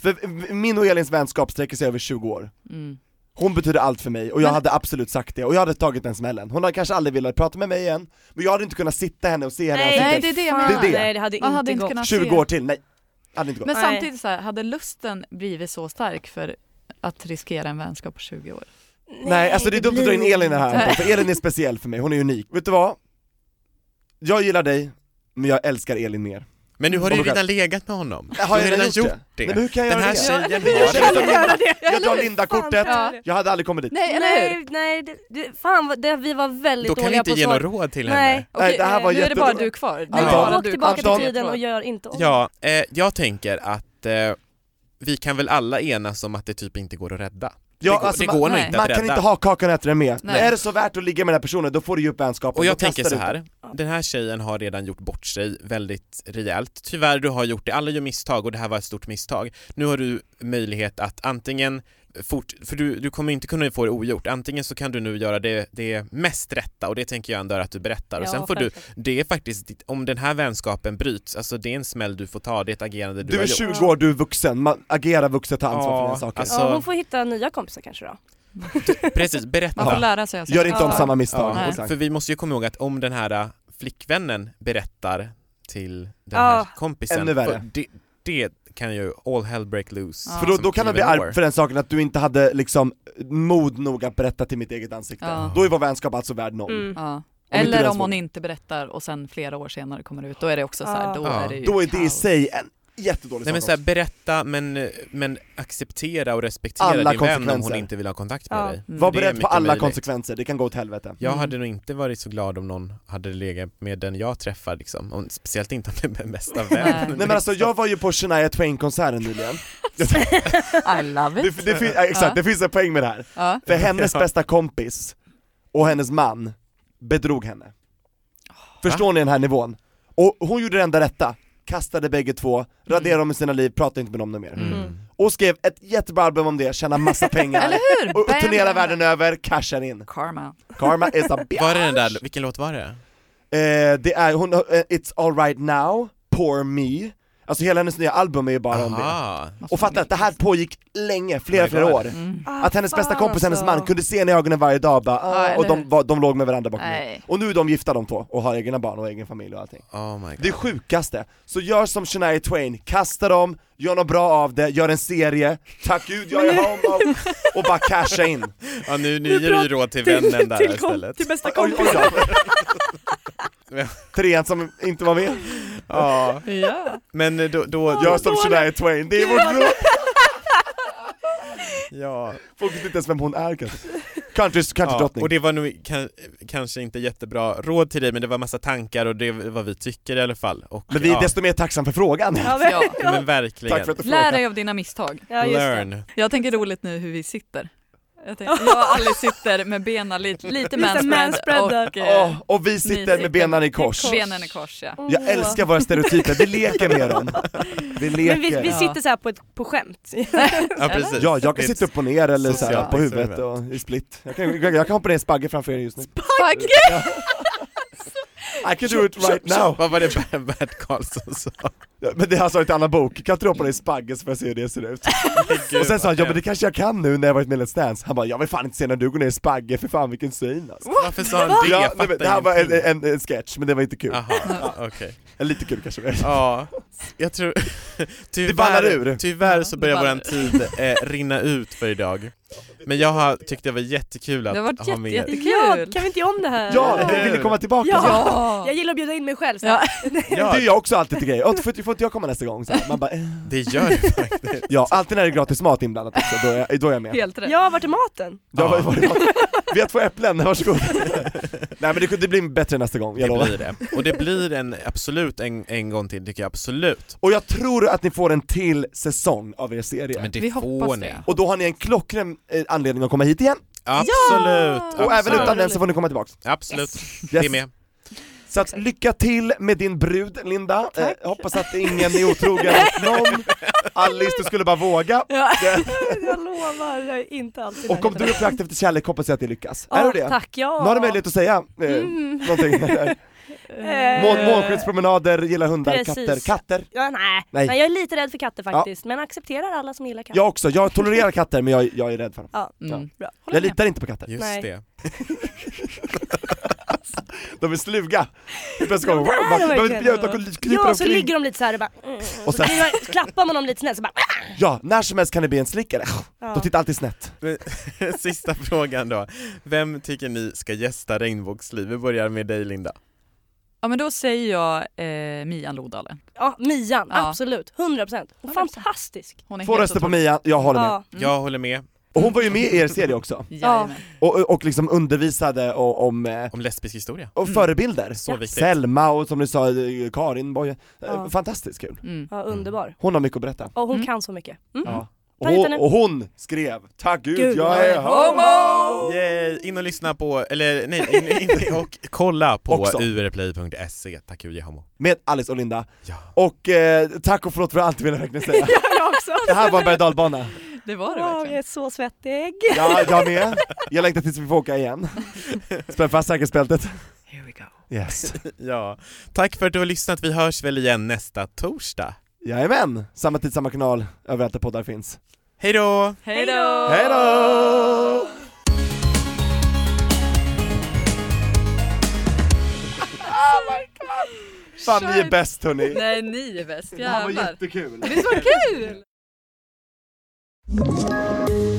[SPEAKER 2] För eh, min och Elins vänskap sträcker sig över 20 år.
[SPEAKER 4] Mm.
[SPEAKER 2] Hon betyder allt för mig och jag
[SPEAKER 4] Men-
[SPEAKER 2] hade absolut sagt det och jag hade tagit den smällen. Hon hade kanske aldrig velat prata med mig igen, men jag hade inte kunnat sitta henne och se henne i
[SPEAKER 4] Nej,
[SPEAKER 2] ansiktet
[SPEAKER 4] det är det jag
[SPEAKER 5] fan.
[SPEAKER 2] menar. Det är det.
[SPEAKER 5] Nej, det hade
[SPEAKER 4] Man hade
[SPEAKER 5] inte
[SPEAKER 4] inte
[SPEAKER 5] gått.
[SPEAKER 4] kunnat
[SPEAKER 2] 20
[SPEAKER 4] se.
[SPEAKER 2] år till, nej. Hade inte gått.
[SPEAKER 4] Men
[SPEAKER 5] Nej.
[SPEAKER 4] samtidigt så här, hade lusten blivit så stark för att riskera en vänskap på 20 år?
[SPEAKER 2] Nej, alltså det är dumt att dra in
[SPEAKER 5] blir-
[SPEAKER 2] Elin i det här, för Elin är speciell för mig, hon är unik. Vet du vad? Jag gillar dig, men jag älskar Elin mer.
[SPEAKER 3] Men nu har
[SPEAKER 2] Oh
[SPEAKER 3] du
[SPEAKER 2] my
[SPEAKER 3] ju
[SPEAKER 2] God.
[SPEAKER 3] redan legat med honom.
[SPEAKER 2] Har
[SPEAKER 3] Du
[SPEAKER 2] jag redan gjort det? Nej, men hur kan jag
[SPEAKER 3] Den här
[SPEAKER 2] göra det?
[SPEAKER 3] tjejen
[SPEAKER 2] Jag
[SPEAKER 3] har
[SPEAKER 2] drar Linda- Jag drar
[SPEAKER 5] Fan,
[SPEAKER 2] Linda-kortet,
[SPEAKER 5] ja.
[SPEAKER 2] jag hade aldrig kommit dit.
[SPEAKER 4] Nej, eller hur?
[SPEAKER 5] Nej, nej, det, det, fan vad, det, vi var väldigt
[SPEAKER 3] Då kan vi
[SPEAKER 5] dåliga
[SPEAKER 3] inte
[SPEAKER 5] på
[SPEAKER 3] ge något
[SPEAKER 5] svar.
[SPEAKER 3] råd till
[SPEAKER 5] Nej.
[SPEAKER 3] henne.
[SPEAKER 2] Nej, det här
[SPEAKER 5] Okej,
[SPEAKER 2] var
[SPEAKER 4] nu är det bara
[SPEAKER 2] jättedåligt.
[SPEAKER 4] du kvar. Det
[SPEAKER 5] Nej,
[SPEAKER 4] är
[SPEAKER 2] Anton.
[SPEAKER 4] bara
[SPEAKER 5] Åk
[SPEAKER 4] du
[SPEAKER 5] tillbaka
[SPEAKER 2] Anton.
[SPEAKER 5] till tiden och gör inte om.
[SPEAKER 3] Ja, eh, jag tänker att eh, vi kan väl alla enas om att det typ inte går att rädda.
[SPEAKER 2] Ja,
[SPEAKER 3] det går,
[SPEAKER 2] alltså,
[SPEAKER 3] det går nog
[SPEAKER 4] nej.
[SPEAKER 3] inte
[SPEAKER 2] Man
[SPEAKER 3] att
[SPEAKER 2] kan
[SPEAKER 3] rädda.
[SPEAKER 2] inte ha kakan och äta den med.
[SPEAKER 4] Nej.
[SPEAKER 2] Är det så värt att ligga med den här personen, då får du ge upp vänskapen.
[SPEAKER 3] Och
[SPEAKER 2] Då
[SPEAKER 3] jag
[SPEAKER 2] kastar
[SPEAKER 3] tänker
[SPEAKER 2] du
[SPEAKER 3] så
[SPEAKER 2] ut den.
[SPEAKER 3] här. den här tjejen har redan gjort bort sig väldigt rejält. Tyvärr, du har gjort det. Alla gör misstag och det här var ett stort misstag. Nu har du möjlighet att antingen fort, för du, du kommer inte kunna få det ogjort. Antingen så kan du nu göra det, det mest rätta och det tänker jag ändå är att du berättar och sen får du, det är faktiskt, ditt- om den här vänskapen bryts, alltså det är en smäll du får ta, det är ett agerande du,
[SPEAKER 2] Du
[SPEAKER 3] har
[SPEAKER 2] är
[SPEAKER 3] gjort.
[SPEAKER 2] 20 år, du är vuxen, man agerar vuxet, tar ansvar för dina saker.
[SPEAKER 3] alltså,
[SPEAKER 5] Ja, hon får hitta nya kompisar kanske då.
[SPEAKER 3] precis, berätta.
[SPEAKER 4] Man får lära sig av sina
[SPEAKER 2] Gör inte om
[SPEAKER 4] misstag.
[SPEAKER 2] samma misstag.
[SPEAKER 4] Nej.
[SPEAKER 2] exakt.
[SPEAKER 3] För vi måste ju komma ihåg att om den här äh, flickvännen berättar till den
[SPEAKER 5] Ja.
[SPEAKER 3] här kompisen,
[SPEAKER 2] Ännu värre.
[SPEAKER 3] för Det, det kan ju all hell break loose.
[SPEAKER 4] Ja.
[SPEAKER 2] För då,
[SPEAKER 3] som
[SPEAKER 2] då kan man bli
[SPEAKER 3] Even War.
[SPEAKER 2] arg för den saken att du inte hade liksom mod nog att berätta till mitt eget ansikte.
[SPEAKER 4] Ja.
[SPEAKER 2] Då är vår vänskap alltså värd noll.
[SPEAKER 5] Mm.
[SPEAKER 4] Ja.
[SPEAKER 2] inte den
[SPEAKER 4] Eller om
[SPEAKER 2] svåra.
[SPEAKER 4] hon inte berättar och sen flera år senare kommer det ut, då är det också så här, då
[SPEAKER 3] Ja.
[SPEAKER 4] är det ju
[SPEAKER 2] Då är det i
[SPEAKER 4] kaos.
[SPEAKER 2] sig en jättedålig
[SPEAKER 3] Nej men
[SPEAKER 2] sak.
[SPEAKER 3] såhär, berätta men, men acceptera och respektera
[SPEAKER 2] Alla
[SPEAKER 3] din vän om hon
[SPEAKER 2] konsekvenser.
[SPEAKER 3] inte vill ha kontakt med
[SPEAKER 5] Ja.
[SPEAKER 3] dig.
[SPEAKER 2] också. Var
[SPEAKER 3] Det är
[SPEAKER 2] beredd på
[SPEAKER 3] mycket
[SPEAKER 2] alla
[SPEAKER 3] möjligt.
[SPEAKER 2] konsekvenser, det kan gå åt helvete.
[SPEAKER 3] Jag
[SPEAKER 4] Mm.
[SPEAKER 3] hade nog inte varit så glad om någon hade legat med den jag träffar liksom, och speciellt inte om det är min bästa vän.
[SPEAKER 2] Nej men alltså jag var ju på Shania Twain-konserten nyligen.
[SPEAKER 4] I love it.
[SPEAKER 2] Det, det, fin- ja, exakt,
[SPEAKER 4] Ja.
[SPEAKER 2] det finns en poäng med det här.
[SPEAKER 4] Mm. Ja.
[SPEAKER 2] För hennes bästa kompis och hennes man bedrog henne. Förstår ni den här nivån? Och hon gjorde det enda rätta, kastade bägge två, raderade dem i sina liv, pratade inte med dem mer.
[SPEAKER 3] Mm.
[SPEAKER 2] Och skrev ett jättebra album om det, tjänade massa pengar.
[SPEAKER 4] Eller hur?
[SPEAKER 2] och
[SPEAKER 4] Bam,
[SPEAKER 2] turnera
[SPEAKER 4] bam,
[SPEAKER 2] världen över, cashar in.
[SPEAKER 4] Karma.
[SPEAKER 2] Karma is a bitch.
[SPEAKER 3] Var det den där, vilken låt var det?
[SPEAKER 2] Eh, det är, hon, eh, It's alright now, poor me. Alltså hela hennes nya album är ju bara om det.
[SPEAKER 3] Aha.
[SPEAKER 2] Och fatta att det här pågick länge, flera
[SPEAKER 3] My
[SPEAKER 2] flera
[SPEAKER 3] God.
[SPEAKER 2] år.
[SPEAKER 4] Mm.
[SPEAKER 2] Att hennes bästa
[SPEAKER 5] Fan,
[SPEAKER 2] kompis, hennes
[SPEAKER 5] alltså.
[SPEAKER 2] man, kunde se henne i ögonen varje dag bara, ah,
[SPEAKER 4] Ja,
[SPEAKER 2] och
[SPEAKER 4] eller
[SPEAKER 2] de,
[SPEAKER 4] hur?
[SPEAKER 2] var, de låg med varandra bakom mig.
[SPEAKER 4] Nej.
[SPEAKER 2] Och nu är de gifta de två, och har egna barn och egen familj och allting.
[SPEAKER 3] Oh my god.
[SPEAKER 2] Det sjukaste! Så gör som Shania Twain, kasta dem, gör något bra av det, gör en serie, tack gud jag är homo, och bara casha in.
[SPEAKER 3] Ja, nu, nu ger du ju råd till vännen där istället.
[SPEAKER 5] till bästa
[SPEAKER 2] Oj,
[SPEAKER 5] kompis.
[SPEAKER 2] oj, oj. Trean som inte var med.
[SPEAKER 3] Ja,
[SPEAKER 4] Ja.
[SPEAKER 3] men då, då
[SPEAKER 2] Gör som Shania Twain, det är vårt råd!
[SPEAKER 3] ja.
[SPEAKER 2] Folk vet inte ens vem hon är kanske. Country,
[SPEAKER 3] ja.
[SPEAKER 2] countrydrottning.
[SPEAKER 3] Och det var nog kan, kanske inte jättebra råd till dig, men det var massa tankar och det är vad vi tycker i alla fall. Och,
[SPEAKER 2] Men vi är
[SPEAKER 3] ja,
[SPEAKER 2] desto mer tacksamma för frågan.
[SPEAKER 5] Ja, men,
[SPEAKER 4] Ja.
[SPEAKER 3] ja, men verkligen.
[SPEAKER 2] Tack för att du
[SPEAKER 4] Lär
[SPEAKER 2] frågade.
[SPEAKER 4] dig av dina misstag.
[SPEAKER 5] ja, just det.
[SPEAKER 3] Learn.
[SPEAKER 4] Jag tänker roligt nu hur vi sitter. Jag, tänker, jag och Alice sitter med benen lite, lite manspread
[SPEAKER 5] manspread där.
[SPEAKER 4] och eh,
[SPEAKER 2] Åh, och vi sitter med
[SPEAKER 4] nyfiken.
[SPEAKER 2] benen i kors.
[SPEAKER 4] benen i kors. Ja.
[SPEAKER 5] Åh.
[SPEAKER 2] Jag älskar våra stereotyper, vi leker med dem. Vi leker.
[SPEAKER 5] Men vi, vi
[SPEAKER 4] Ja.
[SPEAKER 5] sitter så här på, ett, på skämt.
[SPEAKER 3] Ja, precis.
[SPEAKER 2] Ja, jag kan
[SPEAKER 3] It's-
[SPEAKER 2] sitta upp och ner eller så här,
[SPEAKER 3] Socialt
[SPEAKER 2] på huvudet
[SPEAKER 3] experiment.
[SPEAKER 2] och i split. Jag kan, jag kan hoppa ner i en spagge framför er just nu.
[SPEAKER 4] Fuck!
[SPEAKER 2] I can do it right now!
[SPEAKER 3] Vad var det Bert Karlsson sa?
[SPEAKER 2] Ja, Men det han sa i en annan bok, kan inte du hoppa ner i spagge så får jag se hur det ser ut?
[SPEAKER 3] Gud,
[SPEAKER 2] Och sen sa han, ja men
[SPEAKER 3] vad
[SPEAKER 2] det
[SPEAKER 3] hemskt.
[SPEAKER 2] kanske jag kan nu när jag varit med i Let's Dance. Han bara, jag vill fan inte se när du går ner i spagge, för fan vilken syn alltså.
[SPEAKER 3] Varför sa han det?
[SPEAKER 2] Ja,
[SPEAKER 3] Jag
[SPEAKER 2] nej, men,
[SPEAKER 3] fattar
[SPEAKER 2] det här var en,
[SPEAKER 3] ingenting.
[SPEAKER 2] en, en sketch, men det var inte kul.
[SPEAKER 3] Aha, okej.
[SPEAKER 2] Eller Lite kul kanske det var.
[SPEAKER 3] Ja, jag tror... Tyvärr,
[SPEAKER 2] ballar ur.
[SPEAKER 3] tyvärr så
[SPEAKER 4] Ja, det
[SPEAKER 3] börjar
[SPEAKER 4] ballar
[SPEAKER 3] våran tid eh, rinna ut för idag. Men jag har, tyckte det var jättekul att
[SPEAKER 4] Det har varit
[SPEAKER 3] ha med
[SPEAKER 4] jätte-
[SPEAKER 5] Ja,
[SPEAKER 4] Kul.
[SPEAKER 5] kan vi inte göra om det här?
[SPEAKER 2] Ja,
[SPEAKER 3] Eller
[SPEAKER 2] vi ville
[SPEAKER 3] hur?
[SPEAKER 2] komma tillbaka!
[SPEAKER 5] Ja.
[SPEAKER 4] Ja.
[SPEAKER 5] Jag gillar att bjuda in mig själv. Så.
[SPEAKER 4] Ja.
[SPEAKER 2] Det
[SPEAKER 3] Ja,
[SPEAKER 2] är jag också alltid till grejer, Åh, får, inte- får inte jag komma nästa gång? Så här. Man bara, eh.
[SPEAKER 3] det gör det faktiskt.
[SPEAKER 2] ja, alltid när det är gratis mat inblandat också, då är, jag- då är jag med.
[SPEAKER 4] Helt rätt.
[SPEAKER 5] Ja, vart är maten?
[SPEAKER 2] Ja,
[SPEAKER 3] Ja.
[SPEAKER 2] var det något? Vi har två äpplen, varsågod. Nej men det, kunde- det blir bättre nästa gång, jag
[SPEAKER 3] Det
[SPEAKER 2] lovar.
[SPEAKER 3] blir det. Och det blir en, absolut en, en gång till tycker jag absolut.
[SPEAKER 2] Och jag tror att ni får en till säsong av er serie.
[SPEAKER 3] Men det
[SPEAKER 4] Vi
[SPEAKER 3] får
[SPEAKER 4] hoppas
[SPEAKER 3] ni.
[SPEAKER 4] det.
[SPEAKER 2] Och då har ni en klockren eh, anledning att komma hit igen,
[SPEAKER 3] Absolut.
[SPEAKER 2] och
[SPEAKER 3] absolut.
[SPEAKER 2] även utan den så får ni komma tillbaks.
[SPEAKER 3] Absolut.
[SPEAKER 2] Yes.
[SPEAKER 3] Det är med.
[SPEAKER 2] Så att lycka till med din brud Linda, eh, hoppas att ingen är otrogen mot någon. Alice, du skulle bara våga.
[SPEAKER 5] Ja.
[SPEAKER 2] Det-
[SPEAKER 5] jag lovar, jag är inte alltid
[SPEAKER 2] Och om du är på jakt efter kärlek hoppas jag att det lyckas.
[SPEAKER 5] Ja,
[SPEAKER 2] är du det?
[SPEAKER 5] Tack, ja.
[SPEAKER 2] Nu har du möjlighet att säga eh,
[SPEAKER 5] Mm.
[SPEAKER 2] någonting.
[SPEAKER 5] Eh,
[SPEAKER 2] Mån, månskyddspromenader, gillar hundar,
[SPEAKER 5] Precis.
[SPEAKER 2] katter. Katter?
[SPEAKER 5] Ja, nej.
[SPEAKER 2] Nej.
[SPEAKER 5] nej. jag är lite rädd för katter faktiskt, men accepterar alla som gillar katter.
[SPEAKER 2] Jag också, jag tolererar katter men jag, jag är rädd för dem.
[SPEAKER 5] Ja.
[SPEAKER 4] Mm.
[SPEAKER 5] Bra.
[SPEAKER 2] Jag litar inte på katter.
[SPEAKER 3] Just
[SPEAKER 5] Nej.
[SPEAKER 3] det.
[SPEAKER 2] De är sluga. Helt plötsligt
[SPEAKER 5] Ja, det är de
[SPEAKER 2] kommer de,
[SPEAKER 5] verkligen.
[SPEAKER 2] de kryper
[SPEAKER 5] Ja, så
[SPEAKER 2] omkring.
[SPEAKER 5] ligger de lite så här och bara... Mm,
[SPEAKER 2] Och
[SPEAKER 5] och
[SPEAKER 2] sen-
[SPEAKER 5] så kliver- klappar man dem lite snällt så bara...
[SPEAKER 2] Ja, när som helst kan det bli en slickare.
[SPEAKER 5] Ja.
[SPEAKER 2] De tittar alltid snett.
[SPEAKER 3] Sista frågan då. Vem tycker ni ska gästa Regnbågsliv? Vi börjar med dig Linda.
[SPEAKER 4] Mm. Ja men då säger jag eh, Mian Lodale.
[SPEAKER 5] Ja, Mian,
[SPEAKER 4] Ja.
[SPEAKER 5] absolut. 100 procent. Fantastisk.
[SPEAKER 4] Hon är
[SPEAKER 2] Två
[SPEAKER 4] helt
[SPEAKER 2] röster på
[SPEAKER 4] otrolig.
[SPEAKER 2] Mia, jag håller med.
[SPEAKER 5] Ja.
[SPEAKER 3] Jag håller med
[SPEAKER 2] Och hon var ju med i er serie också.
[SPEAKER 4] Jajamän.
[SPEAKER 2] Och, och liksom undervisade och, om, eh,
[SPEAKER 3] om lesbisk historia.
[SPEAKER 2] och förebilder.
[SPEAKER 3] Så viktigt.
[SPEAKER 2] Selma och som du sa, eh, Karin Boye. Eh,
[SPEAKER 5] Ja.
[SPEAKER 2] Fantastiskt kul.
[SPEAKER 4] Mm.
[SPEAKER 5] Ja, underbar.
[SPEAKER 2] Hon har mycket att berätta.
[SPEAKER 5] Och hon
[SPEAKER 4] Mm.
[SPEAKER 5] kan så mycket. Mm.
[SPEAKER 2] Ja. Och,
[SPEAKER 5] Ta hit
[SPEAKER 2] hon,
[SPEAKER 5] henne.
[SPEAKER 2] och hon skrev, tack gud,
[SPEAKER 5] Gud,
[SPEAKER 2] jag
[SPEAKER 5] vad
[SPEAKER 2] är
[SPEAKER 5] är
[SPEAKER 2] homo!
[SPEAKER 3] Yay! In och lyssna på, eller nej, in, in, och kolla på
[SPEAKER 2] Också.
[SPEAKER 3] urplay.se. Tack Julia Homo.
[SPEAKER 2] Med Alice och Linda.
[SPEAKER 3] Ja.
[SPEAKER 2] Och eh, tack och förlåt för allt vill jag verkligen säga.
[SPEAKER 5] Jag också.
[SPEAKER 2] Det här var en berg och dalbana.
[SPEAKER 4] Det var det
[SPEAKER 5] Wow, jag
[SPEAKER 4] verkligen.
[SPEAKER 5] är så svettig.
[SPEAKER 2] Ja, jag med. Jag längtar tills vi får åka igen. Spänn fast säkerhetsbältet.
[SPEAKER 4] Here we go.
[SPEAKER 2] Yes.
[SPEAKER 3] Ja. Tack för att du har lyssnat. Vi hörs väl igen nästa torsdag.
[SPEAKER 2] Jajamän! Samma tid, samma kanal, överallt där poddar finns.
[SPEAKER 3] Hej då!
[SPEAKER 4] Hej då!
[SPEAKER 2] Hej då! Fan ni är bäst hörni!
[SPEAKER 4] Nej ni är bäst,
[SPEAKER 2] Det här var
[SPEAKER 4] jävlar.
[SPEAKER 2] jättekul!
[SPEAKER 4] Visst var det kul?